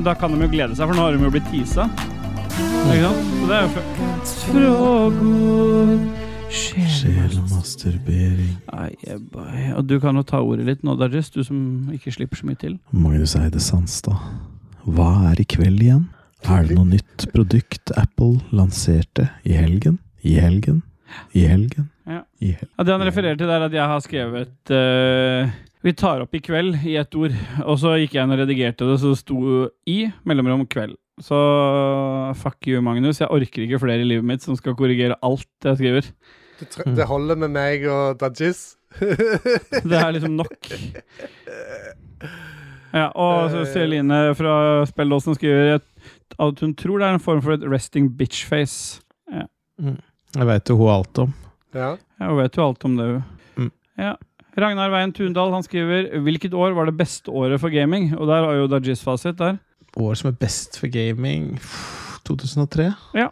Da kan de jo glede seg, for nå har de jo blitt tisa. Ikke sant? Så det er jo fø- Frågor Sjelmasturbering. Ai, ebbai. Og du kan jo ta ordet litt nå, Dajis, du som ikke slipper så mye til. Magnus Eide Sandstad. Hva er i kveld igjen? Er det noe nytt produkt Apple lanserte i helgen? I helgen? I helgen? Ja. I helgen. Ja, det han refererer til, der er at jeg har skrevet eh, Vi tar opp i kveld i ett ord. Og så gikk jeg inn og redigerte det, så det sto i mellomrom kveld. Så fuck you, Magnus. Jeg orker ikke flere i livet mitt som skal korrigere alt jeg skriver. Det, tre- det holder med meg og Dajis. ja, Det er liksom nok. Ja, og så Celine fra Spelldåsen skriver et, at hun tror det er en form for et resting bitch-face. Jeg veit jo hun alt om. Ja, Hun vet jo alt om det, hun. Mm. Ja. Ragnar Veien Tundal han skriver Hvilket år var det beste året for gaming? Og der har jo Dajis fasit. der År som er best for gaming? 2003? Hva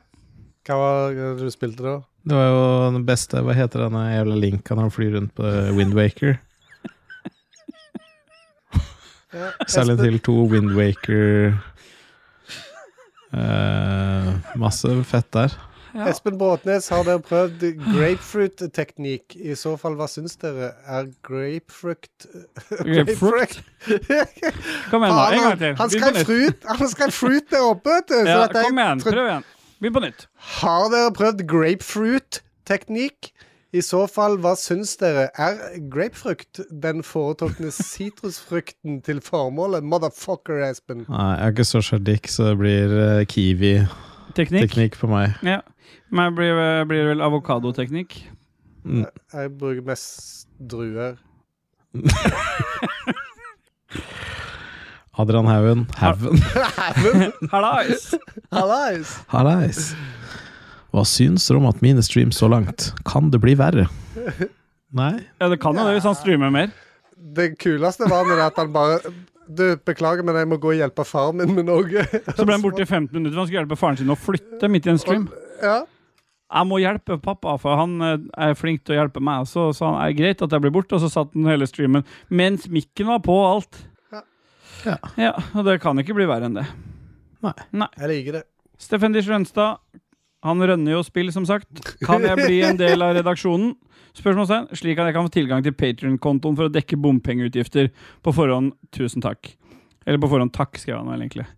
var det du spilte da? Det var jo den beste Hva heter denne jævla Linka når han flyr rundt på Windwaker? Ja, Silent Espen. Hill 2, Windwaker Eh, Masse fett der. Ja. Espen Bråtnes, har dere prøvd grapefruit-teknikk? I så fall, hva syns dere? Er grapefruit Grapefruit? Kom igjen, nå. En Faen, gang han, til. Begynn han skrev på nytt. fruit Han skrev fruit der oppe, vet du! Så Ja, at jeg kom igjen. trodde- Prøv igjen. Begynn på nytt. Har dere prøvd grapefruit-teknikk? I så fall, hva syns dere? Er grapefrukt den foretrukne sitrusfrukten til formålet? Motherfucker, Espen. Nei, jeg er ikke så sjardik, så det blir eh, kiwi-teknikk Teknikk. på meg. Ja. Men det blir, eh, blir det vel avokadoteknikk? Mm. Jeg bruker mest druer. Adrian Haugen. Haugen. Hallais! Hallais! Hallais. Hva syns dere om at mine streams så langt? Kan det bli verre? Nei? Ja, det kan jo det hvis han streamer mer. Det kuleste var med det at han bare Du, beklager, men jeg må gå og hjelpe faren min med noe. Så ble han borte i 15 minutter, for han skulle hjelpe faren sin å flytte midt i en stream. Ja. Jeg må hjelpe pappa, for han eh, er flink til å hjelpe meg. Så sa han er det greit at jeg blir borte, og så satt han hele streamen mens mikken var på og alt. Ja. Ja. Ja, og det kan ikke bli verre enn det. Jeg liker det. Steffen Dish Rønstad, Han rønner jo spill, som sagt. Kan jeg bli en del av redaksjonen? Spørsmålstegn. Slik at jeg kan få tilgang til Patrion-kontoen for å dekke bompengeutgifter. På forhånd, tusen takk. Eller på forhånd, takk, skrev han vel egentlig.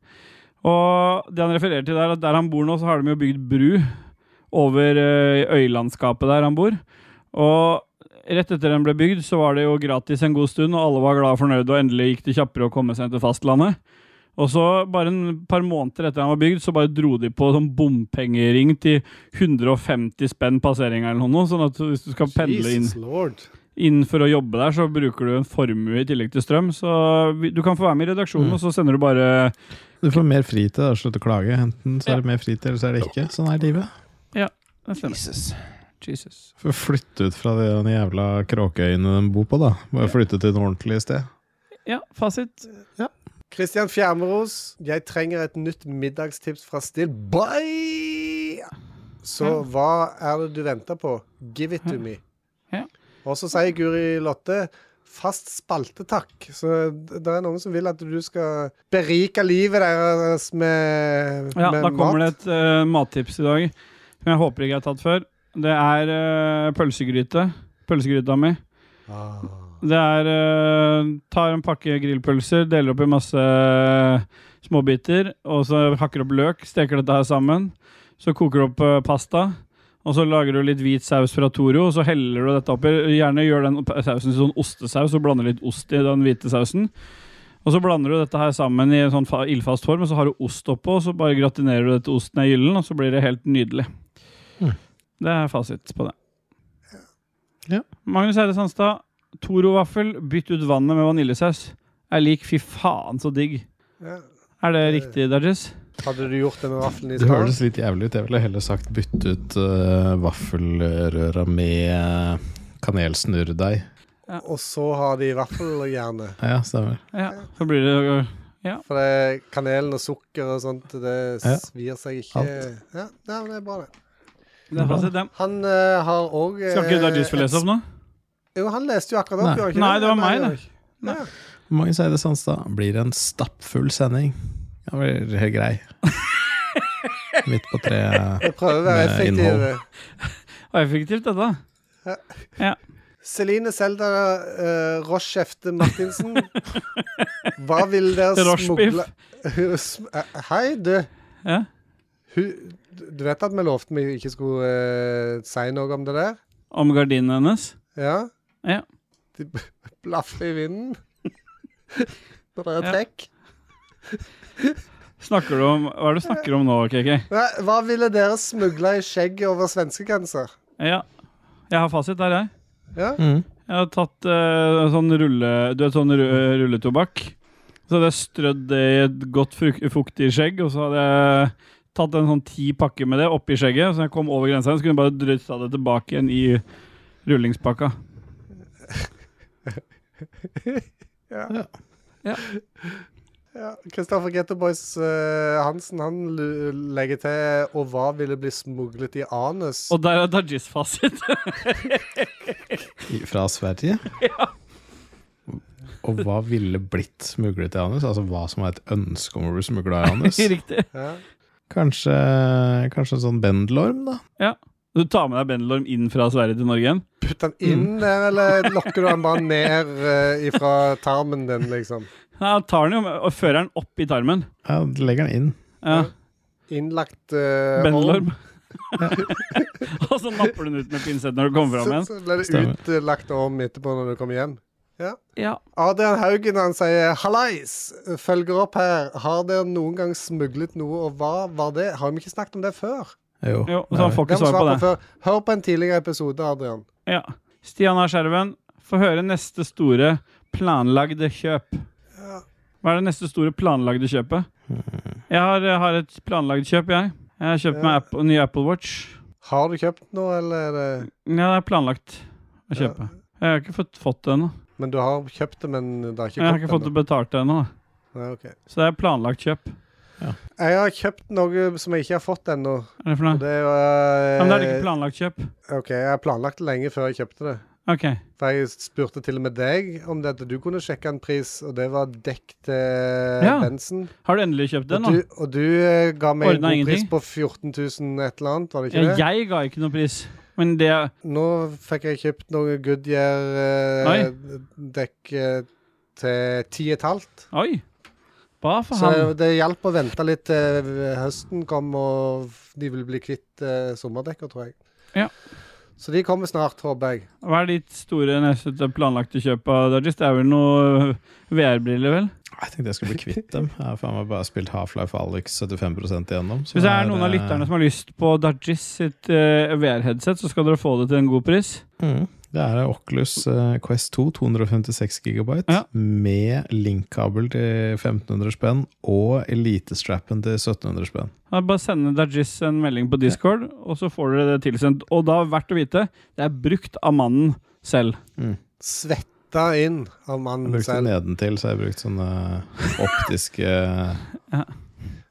Og det han refererer til der, at der han bor nå, så har de jo bygd bru over eh, øylandskapet der han bor. Og rett etter den ble bygd, så var det jo gratis en god stund, og alle var glad og fornøyd, og endelig gikk det kjappere å komme seg til fastlandet. Og så, bare en par måneder etter han var bygd, så bare dro de på sånn bompengering til 150 spenn passeringa eller noe, sånn at hvis du skal pendle inn Jesus lord. inn for å jobbe der, så bruker du en formue i tillegg til strøm. Så vi- du kan få være med i redaksjonen, Mm. og så sender du bare Du får mer fritid, da. Slutt å klage. Enten så Ja. er det mer fritid, eller så er det ikke. Sånn er livet. Jesus. Jesus. Får flytte ut fra de de jævla kråkeøyene de bor på, da. Bare flytte til et ordentlig sted. Ja, fasit. Kristian Fjermeros, jeg trenger et nytt middagstips fra Still. Bye! Så hva er det du venter på? Give it to me. Ja. Og så sier Guri Lotte fast spalte, takk. Så det er noen som vil at du skal berike livet deres med, Ja, med da kommer mat. det et eh, mattips i dag som jeg håper ikke jeg har tatt før. Det er eh, pølsegryte. Pølsegryta mi. Ah. Det er eh, Tar en pakke grillpølser, deler opp i masse småbiter, og så hakker opp løk, steker dette her sammen. Så koker du opp eh, pasta, og så lager du litt hvit saus fra Toro, og så heller du dette oppi. Gjerne gjør den opp- sausen til sånn ostesaus, og blander litt ost i den hvite sausen. Og så blander du dette her sammen i en sånn fa- ildfast form, og så har du ost oppå, og så bare gratinerer du dette osten i gyllen, og så blir det helt nydelig. Mm. Det er fasit på det. Ja. Magnus Eide Sandstad, Toro-vaffel, bytt ut vannet med vaniljesaus. Er lik fy faen så digg. Ja. Er det Det- riktig, Dajis? Hadde du gjort det med vaffelen i Det stad? høres litt jævlig ut. Jeg ville heller sagt bytte ut uh, vaffelrøra med eh, kanelsnurrdeig. Og så har de vaffelhjerne. Ja, stemmer. Ja, så blir det øh, For det, kanelen og sukker og sånt, det Ja. svir seg ikke. Alt. Ja, ja, men det er bra, det. Det er fasit, dem. Han eh, har òg Skal ikke Dajis få lese opp nå? Jo, han leste jo akkurat opp. Nei. gjorde han ikke Nei, det var meg, gjorde det. han ikke. Nei. Ja. Magnus Eide Sandstad blir det en stappfull sending. Det blir helt grei. Midt på treet. Jeg prøver å være Med effektiv. innhold. Det var effektivt, dette. Celine Selda uh, Rochefte Martinsen. Hva vil dere Rochebiff. smugle Sm- eh, Hei, du. Ja. Hu- Du vet at vi lovte vi ikke skulle eh, si noe om det der? Om gardinene hennes. Ja? Ja. De b- blaffer i vinden. Når det er Ja. trekk. Snakker du om Hva er det du snakker om nå, KK? Nei, Hva ville dere smugle i skjegget over svenskegrenser? Ja. Jeg har fasit der, jeg. Ja? Mm. Jeg har tatt eh, sånn rulle... Du vet, sånn ru rulletobakk. Så hadde jeg strødd det i et godt fruk- fuktig skjegg, og så hadde jeg tatt en sånn ti pakker med det oppi skjegget, så når jeg kom over grensa, så kunne jeg bare dryssa det tilbake igjen i rullingspakka. Ja, Kristoffer Getterboys eh, Hansen han lu- legger til Og hva ville bli smuglet i anus? Og der er Dajis fasit. I- Fra Sverige. Og hva ville blitt smuglet i anus? Altså hva som er et ønske om å bli smugla i anus? Riktig. Ja. Kanskje, kanskje en sånn bendelorm, da? Du tar med deg bendelorm inn fra Sverige til Norge igjen? Putt den Mm. inn der, eller lokker du den bare ned eh, ifra tarmen din, liksom? Nei, han tar den jo med, og fører den opp i tarmen. Ja, legger den inn. Ja, Innlagt uh, Bendelorm. og så napper du den ut med pinsett når du kommer fram Så, igjen. så ble det Stemmer. utlagt orm etterpå når du kom hjem. Ja. Adrian Haugen han sier 'hallais'. Følger opp her. Har dere noen gang smuglet noe, og hva var det? Har vi ikke snakket om det før? Jo. Jo, så han Nei. får Det ikke har vi svar på svart det. på før. Hør på en tidligere episode, Adrian. Ja. Stian A. Skjerven, få høre neste store planlagde kjøp. Hva er det neste store planlagde kjøpet? Jeg har, jeg har et planlagd kjøp, jeg. Jeg har kjøpt Ja. meg Apple, ny Apple Watch. Har du kjøpt noe, eller er det Ja, det er planlagt å Ja. kjøpe. Jeg har ikke fått, fått det ennå. Men du har kjøpt det, men det har ikke Jeg har ikke gått fått det betalt ennå. da. Nei, ok. Så det er planlagt kjøp. Jeg har kjøpt noe som jeg ikke har fått ennå. Er det for og noe? Det var eh, Ja, Men da er det ikke planlagt kjøp. OK, jeg har planlagt det lenge før jeg kjøpte det. OK. For jeg spurte til og med deg om det at du kunne sjekke en pris, og det var dekk til Ja. bensen. Har du endelig kjøpt den, og, da? du, og du eh, ga meg en Ordna god ingenting. pris på 14 000 et eller annet, var det ikke Ja, det? jeg ga ikke noen pris. Men det Nå fikk jeg kjøpt noe Goodyear-dekk til ti og et halvt. Oi! Hva for Så han? det hjalp å vente litt til høsten kom, og f- de vil bli kvitt eh, sommerdekka, tror jeg. Ja. Så de kommer snart, håper jeg. Hva er ditt store neste planlagte kjøp av Dodges? Det er vel noe VR-briller, vel? Jeg tenkte jeg skulle bli kvitt dem. Jeg har faen meg bare spilt Half-Life Alyx 75 igjennom. så Hvis det er er, noen av eh, lytterne som har lyst på Dodges sitt eh, VR-headset, så skal dere få det til en god pris. Mm. Det er Oculus eh, Quest 2, 256 GB, Ja. med link-kabel til 1500 spenn og elitestrappen til 1700 spenn. Ja, Bare sende Dajis en melding på Discord, og så får dere det tilsendt. Og da, verdt å vite, det er brukt av mannen selv. Svetta inn av Jeg mannen brukte selv. nedentil, så jeg brukte sånne optiske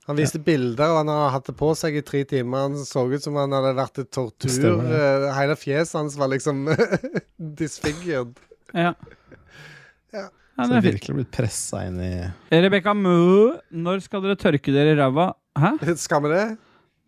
Han viste bilder, og han har hatt det på seg i tre timer. Han så ut som han hadde vært i tortur. Stemmer Eh, Hele fjeset hans var liksom disfigured. Ja. Ja. Ja, Så det jeg er fint. virkelig blitt pressa inn i Rebekka Mø, når skal dere tørke dere i ræva? Hæ? Skal vi det?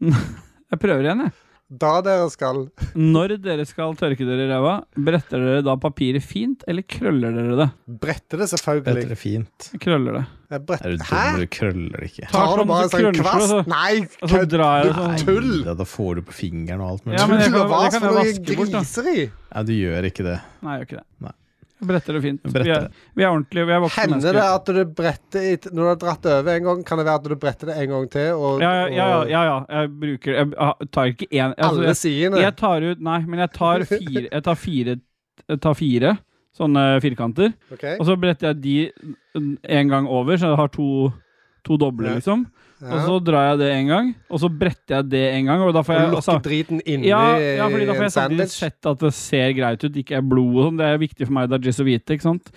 Jeg prøver igjen, jeg. Da dere skal. Når dere skal tørke dere i ræva, bretter dere da papiret fint, eller krøller dere det? Brette det, selvfølgelig. Bedre fint. Jeg Krøller det. Jeg Er du brett- Hæ? dum, du krøller det ikke? Ta Tar sånn, du bare så en sånn krøller du, kvast? og så- Nei, Og så kødd! drar jeg det Nei. sånn. Tull! Ja, da får du på fingeren og alt mulig. Ja, men jeg Tull kan- og vas det kan for jeg noe vaske bort, da. griseri! Nei, du gjør ikke det. Nei, jeg gjør ikke det. Nei. Jeg bretter det fint. Bretter Vi er, det. vi er ordentlige. Vi er voksne Hender det mennesker. at du bretter i t- Når du har dratt det over en gang, kan det være at du bretter det en gang til? Og, Ja, ja, ja. ja, og ja, ja. Jeg bruker Jeg ah, tar ikke én altså, alle jeg- sidene? Jeg tar ut Nei, men jeg tar fire, jeg tar fire, jeg tar fire sånne firkanter. OK? Og så bretter jeg de en gang over, så jeg har to, to doble, Ja. liksom. Og Ja. så drar jeg det en gang, og så bretter jeg det en gang. Og da får Og jeg lukker altså- driten inni ja, ja, fordi da får en jeg samtidig sandwich? sett at det ser greit ut, ikke er blod og sånn. Det er viktig for meg, det er jizz å vite, ikke sant.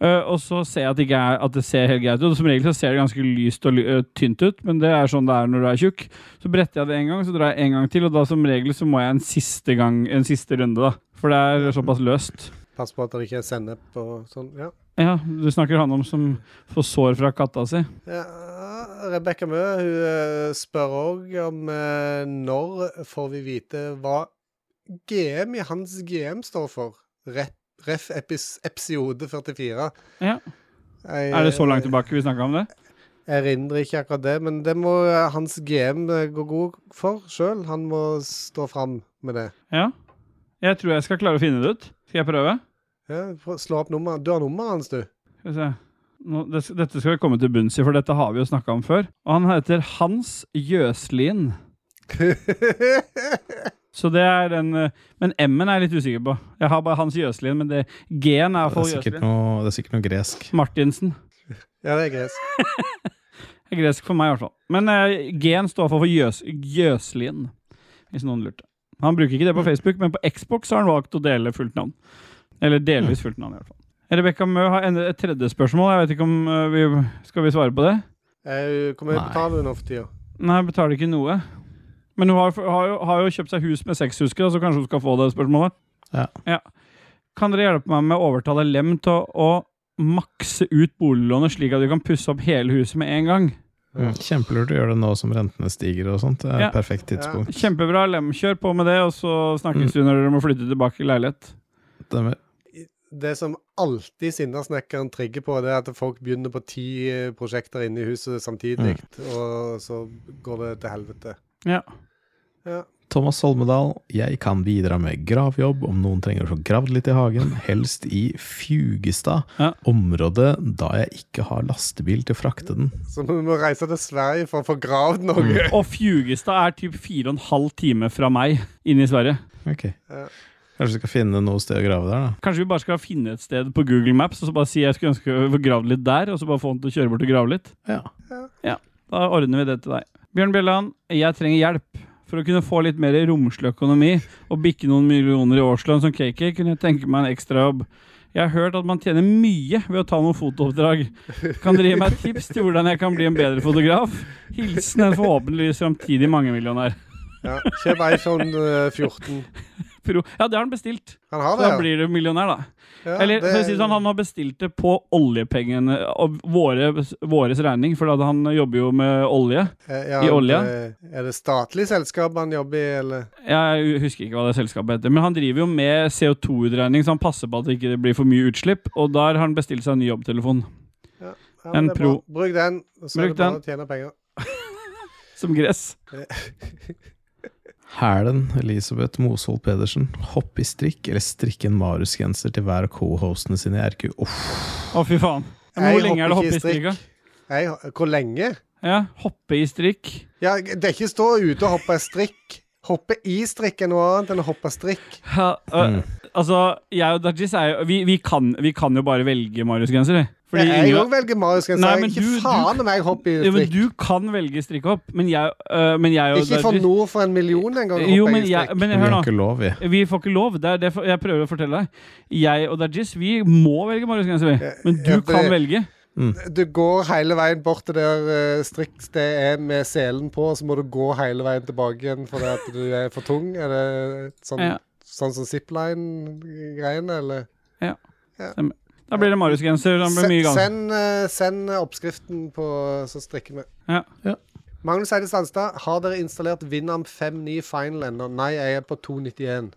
Eh, og så ser jeg at det, ikke er, at det ser helt greit ut. Og som regel så ser det ganske lyst og ly eh, tynt ut, men det er sånn det er når du er tjukk. Så bretter jeg det en gang, så drar jeg en gang til, og da som regel så må jeg en siste gang, en siste runde, da. For det er såpass løst. Pass på at det ikke er sennep og sånn. Ja. Ja, du snakker han om som får sår fra katta si. ja Rebekka Mø hun eh, spør òg om eh, når får vi vite hva GM i hans GM står for? Ref, ref epis, episode 44. Ja. Jeg, Er det så langt tilbake vi snakka om det? Jeg erindrer ikke akkurat det, men det må eh, hans GM gå god for sjøl. Han må stå fram med det. Ja. Jeg tror jeg skal klare å finne det ut. Skal jeg prøve? Ja, prøv- slå opp nummeret. Du har nummeret hans, du. Skal vi se. Nå, det, dette skal vi komme til bunns i, for dette har vi jo snakka om før. Og han heter Hans Jøslien. Så det er den eh, Men M-en er jeg litt usikker på. Jeg har bare Hans Jøslien, men det G-en er Det er iallfall sikkert Jøslien. noe, det er sikkert noe gresk. Martinsen. ja, det er gresk. Det er gresk for meg, i hvert fall. Men eh, G-en står for, for Jøs, Jøslien, hvis noen lurte. Han bruker ikke det på Mm. Facebook, men på Xbox har han valgt å dele fullt navn. Eller Mm. delvis fullt navn, i hvert fall. Rebekka Mø har enda et tredje spørsmål. Jeg vet ikke om eh, vi, Skal vi svare på det? Eh, Hvor mye Nei. betaler hun nå for tida? Nei, betaler ikke noe. Men hun har, har, jo, har jo kjøpt seg hus med seks husker, da, så kanskje hun skal få det spørsmålet. Ja. Kan dere hjelpe meg med å overtale Lem til å, å makse ut boliglånet, slik at du kan pusse opp hele huset med en gang? Ja. Mm. Kjempelurt å gjøre det nå som rentene stiger og sånt. Det Ja. er et perfekt tidspunkt. Kjempebra, Lem. Kjør på med det, og så snakkes du når dere må flytte tilbake i leilighet. Stemmer. Det som alltid Sinnasnekkeren trigger på, det er at folk begynner på ti eh, prosjekter inne i huset samtidig, og så går det til helvete. Ja. Ja. Thomas Holmedal, jeg kan bidra med gravjobb om noen trenger å få gravd litt i hagen, helst i Fjugestad, Ja. området da jeg ikke har lastebil til å frakte den. Så vi må reise til Sverige for å få gravd noe. Og Fjugestad er typ fire og en halv time fra meg inne i Sverige. Ok. Ja. Kanskje vi skal finne noe sted å grave der, da. Kanskje vi bare skal finne et sted på Google Maps og så bare si jeg skulle ønske å få gravd litt der, og så bare få han til å kjøre bort og grave litt. Ja. Da ordner vi det til deg. Bjørn Bjelland, jeg trenger hjelp. For å kunne få litt mer romslig økonomi og bikke noen millioner i årslønn som KK, kunne jeg tenke meg en ekstrajobb. Jeg har hørt at man tjener mye ved å ta noen fotooppdrag. Kan dere gi meg et tips til hvordan jeg kan bli en bedre fotograf? Hilsen en forhåpentligvis framtidig mangemillionær. Ja. Kjøp iPhone eh, 14. Pro. Ja, det har han bestilt. Han har Så det, da blir du millionær, da. ja. Eller for å si det sånn, han har bestilt det på oljepengene av våre, våres regning, for da han jobber jo med olje. Eh, ja, i olje. det- Er det statlig selskap han jobber i, eller? Jeg husker ikke hva det selskapet heter, men han driver jo med CO2-utregning, så han passer på at det ikke blir for mye utslipp, og der har han bestilt seg en ny jobbtelefon. Ja, men En det er bra. pro. Bruk den, og så er Bruk det bare den. å tjene penger. Som gress. Hælen Elisabeth Moshold Pedersen. Hoppe i strikk eller strikke en Marius-genser til hver av co-hostene sine i RQ. Uff. Å, fy faen. Men Jeg hvor lenge er det å hopper hoppe ikke i strikk? da? Jeg, ho- hvor lenge? Ja, hoppe i strikk. Ja, det er ikke stå ute og hoppe strikk. Hoppe i strikk er noe annet enn å hoppe strikk. Ja, øh, Mm. Altså, jeg og Dajis er jo vi, vi, kan, vi kan jo bare velge Marius-genser, vi. Fordi jeg ingen- òg velger Marius-genser. Nei, men Ikke du- du- faen om jeg hopper i ja, men strikk. du kan velge strikkhopp, men jeg, øh, men jeg og ikke for Dajis- nord for en million engang. Jo, men, jeg, jeg, men Vi hør har nå. ikke lov, vi. Vi får ikke lov. Det er det jeg prøver å fortelle deg. Jeg og Dajis vi må velge Marius-genser, vi. Men du Ja, for- kan velge. du går hele veien bort til der eh, strikt det er med selen på, og så må du gå hele veien tilbake igjen fordi at du er for tung. Er det sånn, Ja. sånn som zipline-greiene, eller? Da blir det Marius-genser. Da blir det mye Se- gang. Send, eh, send oppskriften på så strikker vi. Ja. Ja. Magnus Eide Sandstad, har dere installert Winamp 5.9 Final ennå? Nei, jeg er på 291.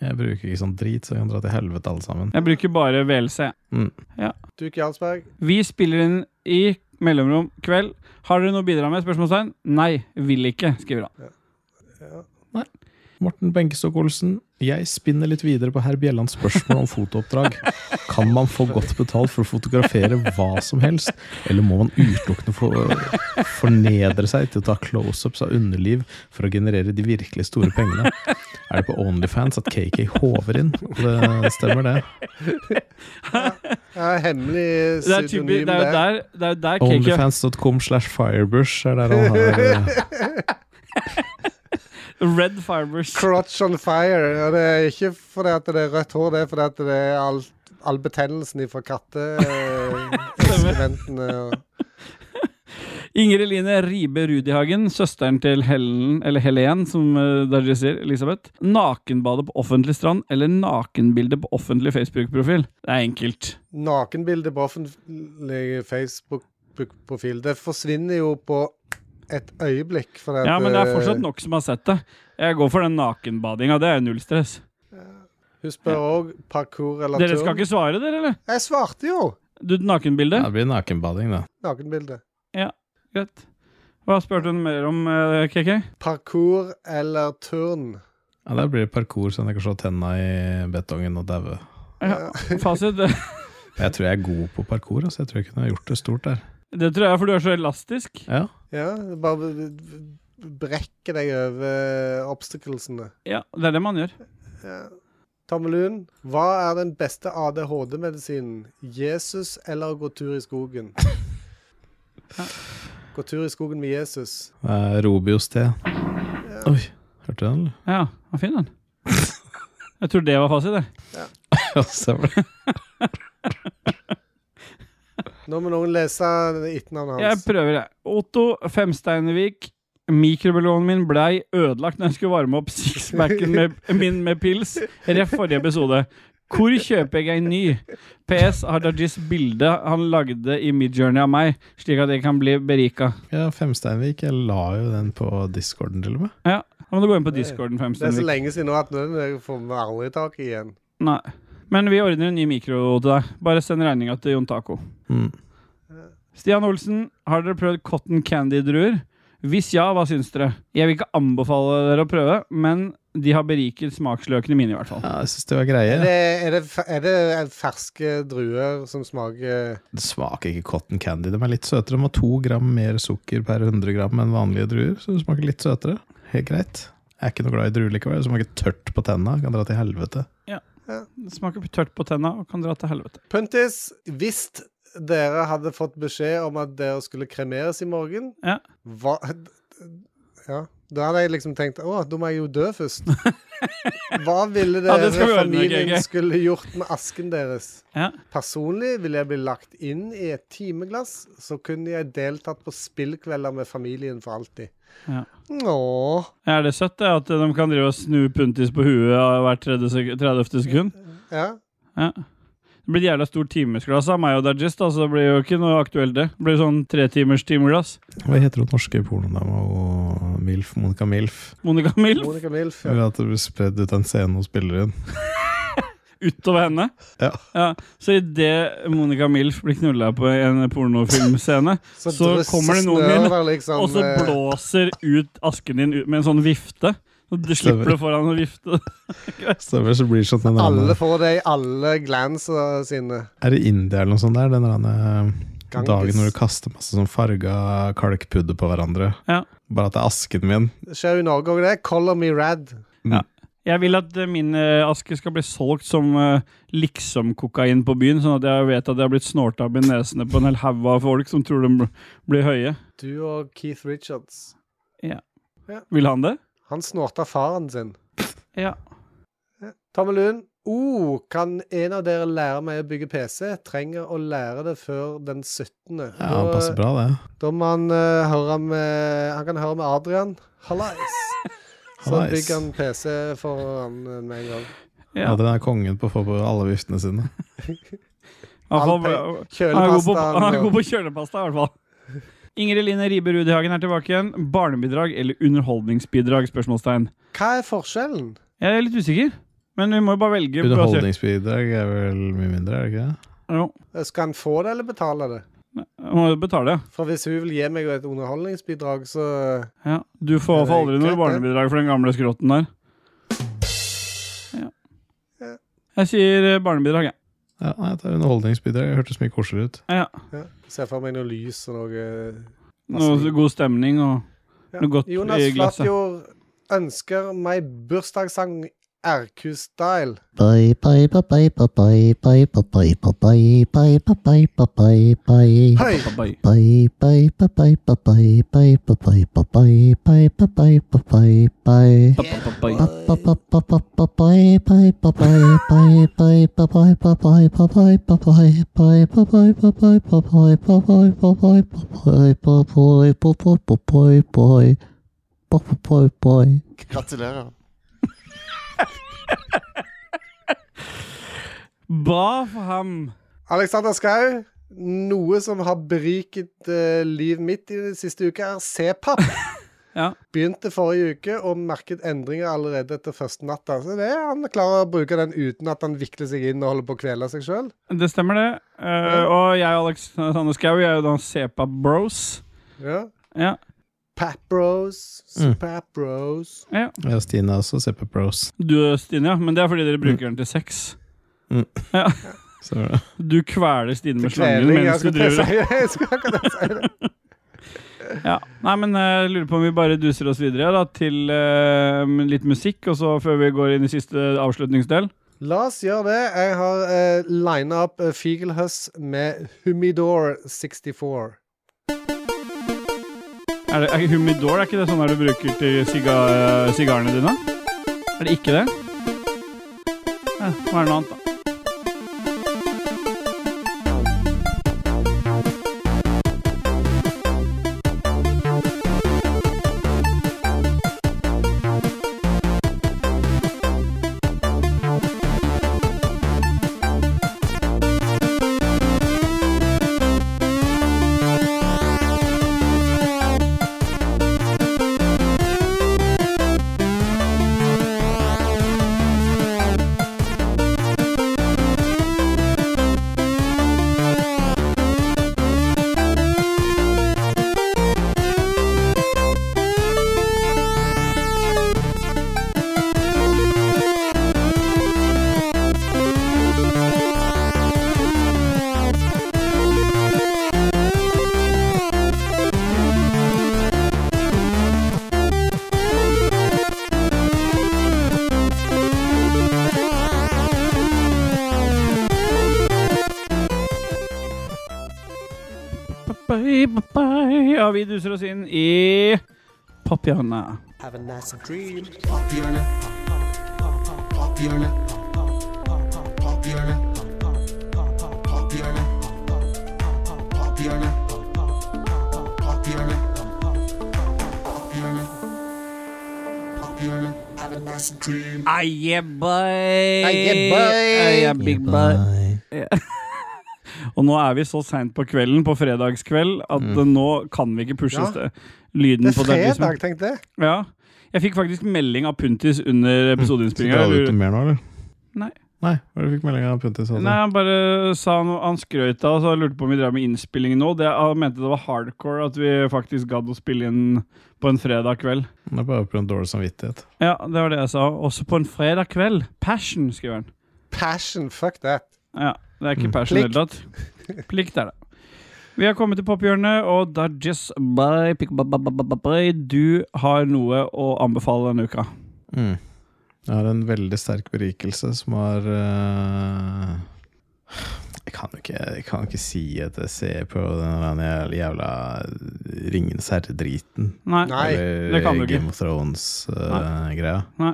Jeg bruker ikke sånn drit, så jeg kan dra til helvete alle sammen. Jeg bruker bare VLC. Duke Jarlsberg, Vi spiller inn i mellomrom kveld. Har dere noe å bidra med? Spørsmålstegn? Nei, vil ikke, skriver han. Morten Benkestok Olsen. Jeg spinner litt videre på herr Bjellands spørsmål om fotooppdrag. Kan man få godt betalt for å fotografere hva som helst, eller må man utelukkende få- fornedre seg til å ta close-ups av underliv for å generere de virkelig store pengene? Er det på Onlyfans at KK håver inn? Og det stemmer, det. ja, hemmelig Det er, typisk, pseudonym det er jo der, det er jo der KK Onlyfans.com slash firebush er der han har eh, Red Fibers. Crotch on fire. Ja, det er ikke fordi at det er rødt hår, det er fordi at det er all, all betennelsen fra eh, katteekskrementene. Inger Eline Ribe Rudihagen, søsteren til Helen, eller Helen, som eh, Dajis sier, Elisabeth. Nakenbadet på offentlig strand eller nakenbilde på offentlig Facebook-profil? Det er enkelt. Nakenbilde på offentlig Facebook-profil. Det forsvinner jo på et øyeblikk. Fordi at, Ja, men det er eh, fortsatt nok som har sett det. Jeg går for den nakenbadinga. Det er null stress. Hun spør òg parkour eller Dere skal turn. ikke svare, dere, eller? Jeg svarte jo! Du, Ja, nakenbilde? Det blir nakenbading, da. Nakenbilde. Greit. Hva spurte hun mer om, eh, KK? Parkour eller turn. Ja, Der blir det parkour, så jeg kan slå tenna i betongen og daue. Ja, fasit? Jeg tror jeg er god på parkour. Altså. Jeg tror jeg kunne gjort det stort der. Det tror jeg, for du er så elastisk. Ja. Ja, det bare brekke deg over obstaclesene. Ja, det er det man gjør. Ja. Tommelun, hva er den beste ADHD-medisinen? Jesus eller å gå tur i skogen? Gå tur i skogen med Jesus. Eh, Robios te. Oi, hørte du den, eller? Ja, han fin den. Jeg tror det var fasit, det. Ja, stemmer det. Nå må noen lese etternavnet Jeg hans. prøver, jeg. Otto Femsteinevik. Mikrobølgeovnen min blei ødelagt når jeg skulle varme opp sixpacken med- min med pils. Ref forrige episode. Hvor kjøper jeg en ny? PS har Dajis bilde han lagde i Midjourney av meg, slik at jeg kan bli berika. Ja, Femsteinvik. Jeg la jo den på discorden, til og med. Ja, Da må du gå inn på discorden, Det er så Femsteinevik. lenge siden nå at nå får vi aldri tak i igjen. Nei. Men vi ordner en ny mikro til deg. Bare send regninga til Jon Taco. Mm. Stian Olsen, har dere prøvd cotton candy-druer? Hvis ja, hva syns dere? Jeg vil ikke anbefale dere å prøve, men de har beriket smaksløkene mine, i hvert fall. Ja, jeg syns det var Er greie. det, er, det, f- er det ferske druer som smaker Det smaker ikke cotton candy. De er litt søtere. De har to gram mer sukker per 100 gram enn vanlige druer, så det smaker litt søtere. Helt greit. Jeg er ikke noe glad i druer likevel. Det smaker tørt på tenna. Kan dra til helvete. Det smaker tørt på tenna og kan dra til helvete. Puntis, hvis dere hadde fått beskjed om at dere skulle kremeres i morgen Ja. hva, ja, Da hadde jeg liksom tenkt å, da må jeg jo dø først. Hva ville Ja, dere det skal vi ordne, familien Gege. skulle gjort med asken deres? Ja. Personlig ville jeg blitt lagt inn i et timeglass, så kunne jeg deltatt på spillkvelder med familien for alltid. Ja. Åh. Er det søtt det, at de kan drive og snu puntis på huet av hvert 30. sek- 30. sekund? Ja. Ja. Det blir et jævla stort timesglass av meg og Dajis, da, så det blir jo ikke noe aktuelt, det. Det blir sånn tretimers timeglass. Hva heter hun norske pornodama og Milf? Monica Milf. Monica Milf Monica Milf. Ja. Eller at det blir spredd ut en scene hos spilleren. utover henne. Ja. Så idet Monica Milf blir knulla på en pornofilmscene, Så dryss- kommer det noen snør inn, der liksom, og så eh, blåser ut asken din ut med en sånn vifte Så du Stemmer. slipper det foran en vifte. Stemmer, så blir det sånn en Alle annen, får det i alle glansa sine. Er det India eller noe sånt der? Den annen, Ganges. dagen når du kaster masse sånn farga kalkpudder på hverandre. Ja. Bare at det er asken min. Det skjer jo i Norge òg, det. Color me rad. Jeg vil at eh, min eh, aske skal bli solgt som eh, liksom-kokain på byen, sånn at jeg vet at jeg har blitt snorta opp i nesene på en hel haug av folk som tror de bl- blir høye. Du og Keith Richards. Vil han det? Han snorta faren sin. Ja. Tommelun. Oh, kan en av dere lære meg å bygge PC? Trenger å lære det før den 17. Ja, det passer bra, det. Da må han eh, høre med Han kan høre med Adrian. Hallais. Så Hallais. bygger han PC for han eh, med en gang. ja. Ja, den er kongen på å få på alle viftene sine. Han får- Alpe- han er god på, Kjølepastaen. han er god og- på kjølepasta, i hvert fall. Ingrid Line Riibe Rudihagen er tilbake igjen. Barnebidrag eller underholdningsbidrag? spørsmålstegn. Hva er forskjellen? Jeg er litt usikker, men vi må jo bare velge. basert- Underholdningsbidrag er vel mye mindre, er det ikke det? Jo, Skal han få det, eller betale det? jeg må jo betale, ja. For hvis hun vil gi meg et underholdningsbidrag, så ja. Du får i hvert fall aldri noe barnebidrag for den gamle skrotten der. Ja. Jeg sier eh, barnebidrag, jeg. Ja, nei, det er underholdningsbidrag. Det hørtes mye koseligere ut. Ja. ja, ser jeg for meg noe lys og noe Noe god stemning og ja. Noe godt Jonas i glasset. Flatjord ønsker meg bursdagssang RQ-style. Bye bye bye bye bye bye bye bye bye bye bye bye bye bye bye. Hei! Bye. Bye bye bye bye bye bye bye bye bye bye bye bye bye bye bye. Bye. Gratulerer. Ba for ham. Alexander Skau, noe som har beriket eh, livet mitt i den siste uka, er C-papp. Ja. Begynte forrige uke og merket endringer allerede etter første natta. Så det er han klarer å bruke den uten at han vikler seg inn og holder på å kvele seg sjøl. Det stemmer, det. Eh, og jeg og Alexander Schou er jo da Sepa-bros. Ja. Ja. Papros, Mm. papros. Ja, Stine er også CP Pros. Du, Stine, ja. Men det er fordi dere bruker den til sex. Så er det. Du kveler Stine med slangen Kveling, jeg mens du skulle til driver å si det. Jeg skulle akkurat si det. Ja. Nei, men eh, jeg lurer på om vi bare duser oss videre da, til eh, litt musikk, og så før vi går inn i siste avslutningsdel. La oss gjøre det. Jeg har uh, lina opp eh, Fiegelhøss med Humidor 64. Er det er humidor? Er ikke det sånn der du bruker til siga, eh, sigarene dine? Er det ikke det? Eh, Ja, må være noe annet, da. Bye, bye, bye. Ja, vi duser oss inn i Papirene. Have a nice dream. Ah, yeah, boy. Ah, yeah, boy. Ah, yeah, big boy. Bye. Og nå er vi så seint på kvelden, på fredagskveld, at eh, Mm. nå kan vi ikke pushe Ja. ja. lyden Det er på den. liksom. fredag, tenk det. Ja. Jeg fikk faktisk melding av Puntis Mm. under Skal dra det ut episodeinnspillinga. noe mer nå, eller? Nei. Nei, Hva er det du fikk melding av Puntis? Altså? Nei, han bare sa noe, han skrøt av oss og lurte på om vi drev med innspilling nå. Det, han mente det var hardcore at vi faktisk gadd å spille inn på en fredag kveld. Det er bare på en dårlig samvittighet. Ja, det var det jeg sa. Også på en fredag kveld. Passion, skriver han. Passion, fuck that. Ja, det er ikke Mm. passion i det Plikt. hele tatt. Plikt er det. Vi har kommet til pophjørnet, og Dudges by, pick, by, by, by, by, by. Du har noe å anbefale denne uka. Mm. Jeg har en veldig sterk berikelse som har eh, Jeg kan jo ikke, jeg kan jo ikke si at jeg ser på den der jævla Ringens herre-driten. Nei. Nei. Eller det kan du ikke. Game of Thrones-greia. Nei.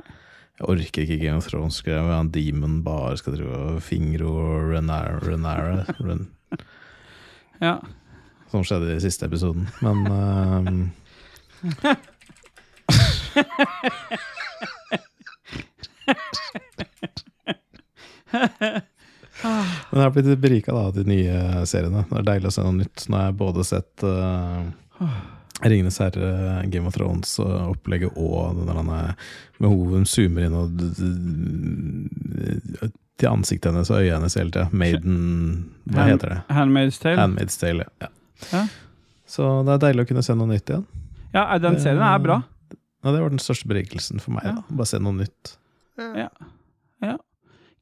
Jeg orker ikke Game of Thrones-greia hvor han Demon bare skal drive og fingre og Renara, Renara Ren, Ja. Som skjedde i siste episoden. Men ehm, Men jeg har blitt berika da, av de nye seriene. Det er deilig å se noe nytt. Nå har jeg både sett uh, Ringenes herre, Game of Thrones-opplegget og den der han, eh, med hoven zoomer inn og d- d- d- til ansiktet hennes og øyet hennes hele tida. Maiden Hva Hand- heter det? Handmaid's Tale. Handmaid's Tale. Ja. Ja. Så det er deilig å kunne se noe nytt igjen. Ja, den serien er bra. Ja, det var den største berikelsen for meg. Ja. Da. Bare se noe nytt.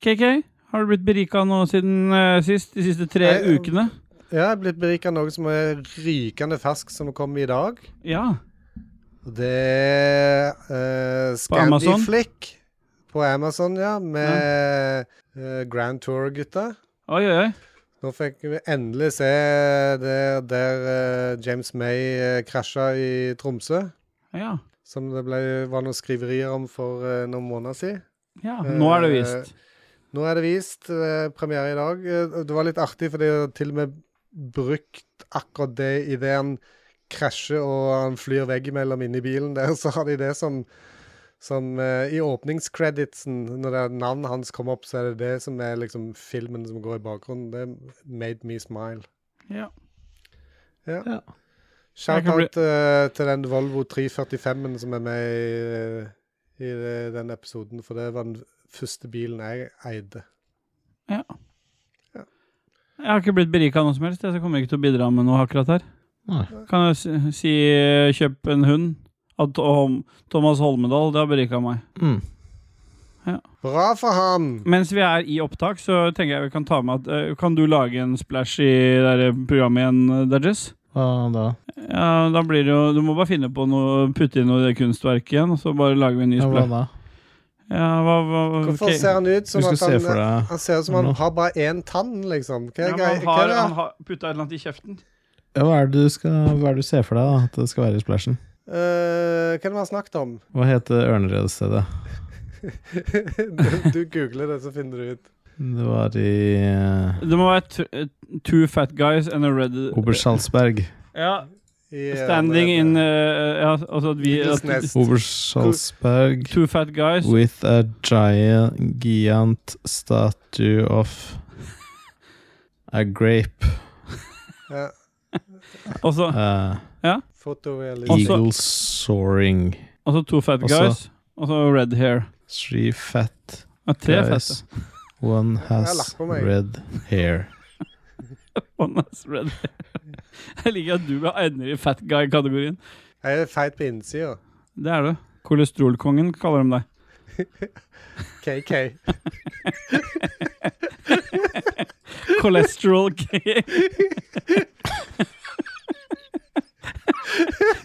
KK, har du blitt berika nå siden eh, sist? De siste tre Nei, eh, ukene? Jeg er blitt berika av noe som er rykende fersk, som kom i dag. Ja. Det er uh, Amazon? Scandiflick på Amazon, ja, med eh, Grand Tour-gutta. Oi, oi, oi. Nå fikk vi endelig se der, der eh, James May eh, krasja i Tromsø. Ja. Som det ble, var noen skriverier om for eh, noen måneder siden. ja. Nå er det vist. Nå er det vist. eh, premiere i dag. Eh, det var litt artig, fordi det er til og med brukt akkurat det idet han krasjer og han flyr veggimellom inni bilen der, så har de det som som eh, I åpningscreditsen, når det er navnet hans kommer opp, så er det det som er liksom filmen som går i bakgrunnen. Det made me smile. Ja. Ja. Ja. Jeg kan Shout-out eh, til den Volvo 345-en som er med i, eh, i det- den episoden, for det var den første bilen jeg eide. Jeg har ikke blitt berika av noe som helst, jeg, så jeg kommer ikke til å bidra med noe akkurat her. Nei. Kan jeg si, si eh, kjøp en hund? Av Tom, Thomas Holmedal, det har berika meg. Mm. Bra for ham! Mens vi er i opptak, så tenker jeg vi kan ta med at eh, Kan du lage en splash i det der programmet igjen, eh, Dudges? Hva da? Ja, da blir det jo Du må bare finne på noe, putte inn noe i det kunstverket igjen, og så bare lager vi en ny Ja, hva splash. da? Ja, hva, hva, Hvorfor ok. ser han ut som Hvis du at ser for han, deg han ser ut som han Nå. har bare én tann, liksom? Hva ja, er men grei- han hva er har, det? han har putta et eller annet i kjeften. ja, hva, er det du skal, hva er det du ser for deg da, at det skal være i splæsjen? Eh, hva er det vi har snakket om? Hva heter ørneredestedet? du, du googler det, så finner du ut. Det var i eh, Det må være t- eh, two fat guys and a red Obersalsberg. Ja, I, eh, standing det- in eh, Ja, altså at vi at, Lindesnes. Obersalsberg Two fat guys. with a giant, giant statue of a grape. Ja, Og så eh, fotorealistisk. Også- eagle soaring. og så two fat Og så- guys, og så red hair. Three fat Ja, tre fette. guys. One Jeg har has lagt på meg. red hair. One has red hair. Jeg liker at du ender i fat guy-kategorien. Jeg er feit på innsida. Det er du. Kolesterolkongen kaller de deg. KK. Cholesterol king.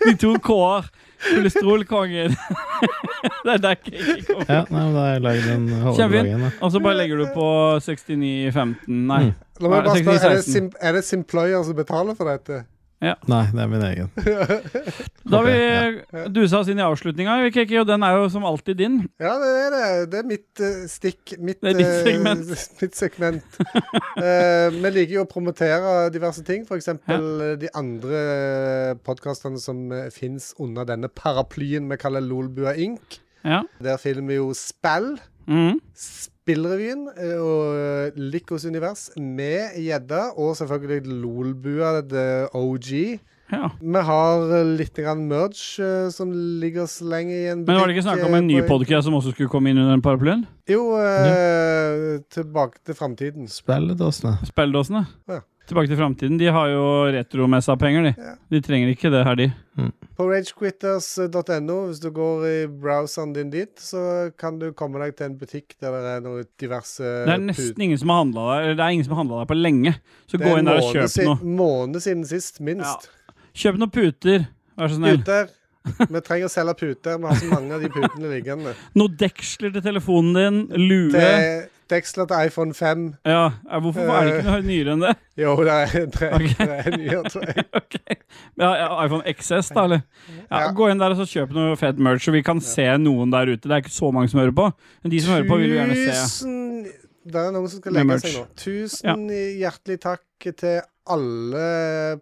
De to k-er. Kolesterolkongen. Det er der cake kommer. Ja, nei, men da har jeg lagd en Kjempefint. halvdagen. Og så bare legger du på 69,15. Nei. La Ja, meg bare spørre, er det, 16. sim, er det Simployer som betaler for dette? Nei, det er min egen. Da har vi dusa oss inn i avslutninga, Kiki, og den er jo som alltid din. Ja, det er det. Det er mitt eh, stikk. Mitt, Det er ditt eh, segment. mitt segment. Eh, vi liker jo å promotere diverse ting, f.eks. eksempel eh, de andre podkastene som fins under denne paraplyen vi kaller Lolbua Inc. Ja. Der finner vi jo spill. Mhm. Spillrevyen eh, og Likos univers med gjedda, og selvfølgelig Lolbua, the OG. ja. Vi har eh, litt grann merch eh, som ligger så lenge i en Men var det ikke snakk om en ny eh, på- podkast som også skulle komme inn under den paraplyen? Jo, eh, tilbake til framtiden. Spelledåsene. Spelledåsene. Ja. Tilbake til framtiden. De har jo retromessa-penger, de. Ja. Eh, De trenger ikke det her, de. På ragequitters.no, hvis du går i browseren din dit, så kan du komme deg til en butikk der det er noe diverse Det er nesten ingen som har handla der eller Det er ingen som har handla der på lenge. Så gå inn der og kjøp noe. Måned siden sist, minst. Kjøp noen puter, vær så snill. Puter. Vi trenger å selge puter. Vi har så mange av de putene liggende. Noen deksler til telefonen din. Lue. Til Dexler til iPhone 5. Ja, eh, Hvorfor er det ikke noe nyere enn det? Jo, det er en tre. Ok. Det er en nyere, tror jeg. Ok. Ja, ja, iPhone XS, da, eller? Ja, Ja. Gå inn der og så kjøp noe fett merch, så vi kan se noen der ute. Det er ikke så mange som hører på, men de som hører på, vil jo gjerne se. Tusen Det er noen som skal Med legge merch. seg nå. Tusen hjertelig takk til alle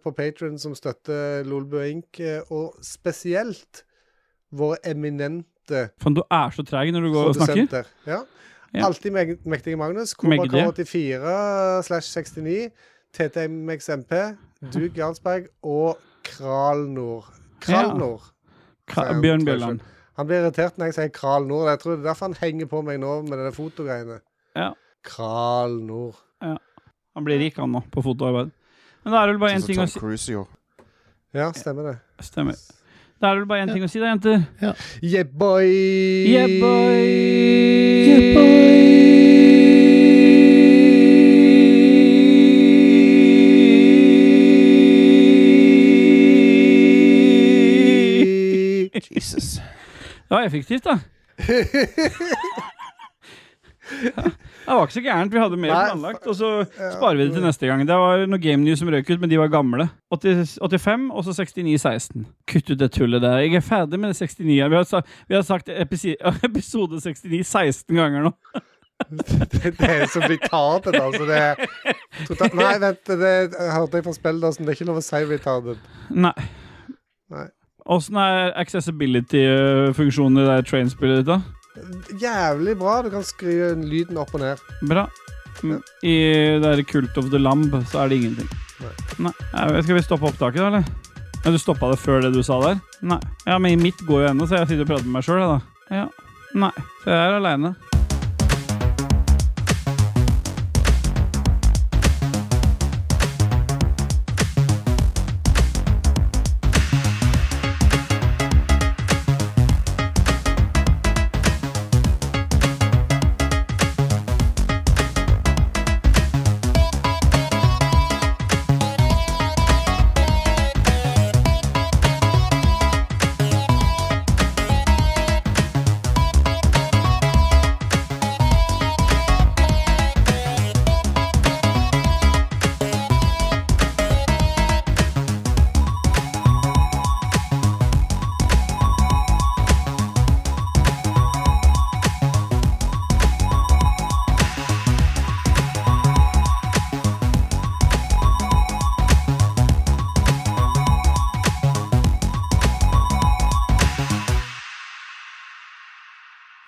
på Patron som støtter Lolbø Inc., og spesielt våre eminente Faen, du er så treg når du går og snakker. produsenter. Ja. Ja. Alltid meg mektige Magnus. Mektige. Kobakar84 slash 69, TTMXMP, Duke Jarlsberg og Kralnor. Kralnor. Ka sier han, Bjørn tror jeg Bjelland. Han blir irritert når jeg sier Kral Nord. Jeg tror det er derfor han henger på meg nå med de fotogreiene. Ja. Kral Nord. Han blir rik, han nå, på fotoarbeid. Men da er det vel bare én Sånn som ting å Tom si. Cruise gjorde. Ja, stemmer det. Stemmer. Da er det vel bare én ting å si, da, jenter. Yeah, boy! Yeah, boy! Jesus. Det var effektivt, da. ja. Det var ikke så gærent. Vi hadde mer Nei, planlagt. Og så sparer vi det til neste gang. Det var noe Game News som røk ut, men de var gamle. 80, 85 og så 69-16. Kutt ut det tullet der. Jeg er ferdig med det 69. Vi har, sa, vi har sagt episi, episode 69 16 ganger nå. Det, det er så retarded, altså. Det er totalt Nei, vent, det hørte jeg fra Spelldåsen. Det er ikke lov å si retarded. Nei. Nei. Åssen er accessibility-funksjonen i det trainspillet ditt, da? Jævlig bra. Du kan skru lyden opp og ned. Bra. Mm, I det der Cult of the Lamb så er det ingenting. Nei. jeg vet- Skal vi stoppe opptaket, da, eller? Ja, du stoppa det før det du sa der? Nei. Ja, men mitt går jo ennå, så jeg sitter og prater med meg sjøl, jeg, da. Ja. Nei. Så jeg er aleine.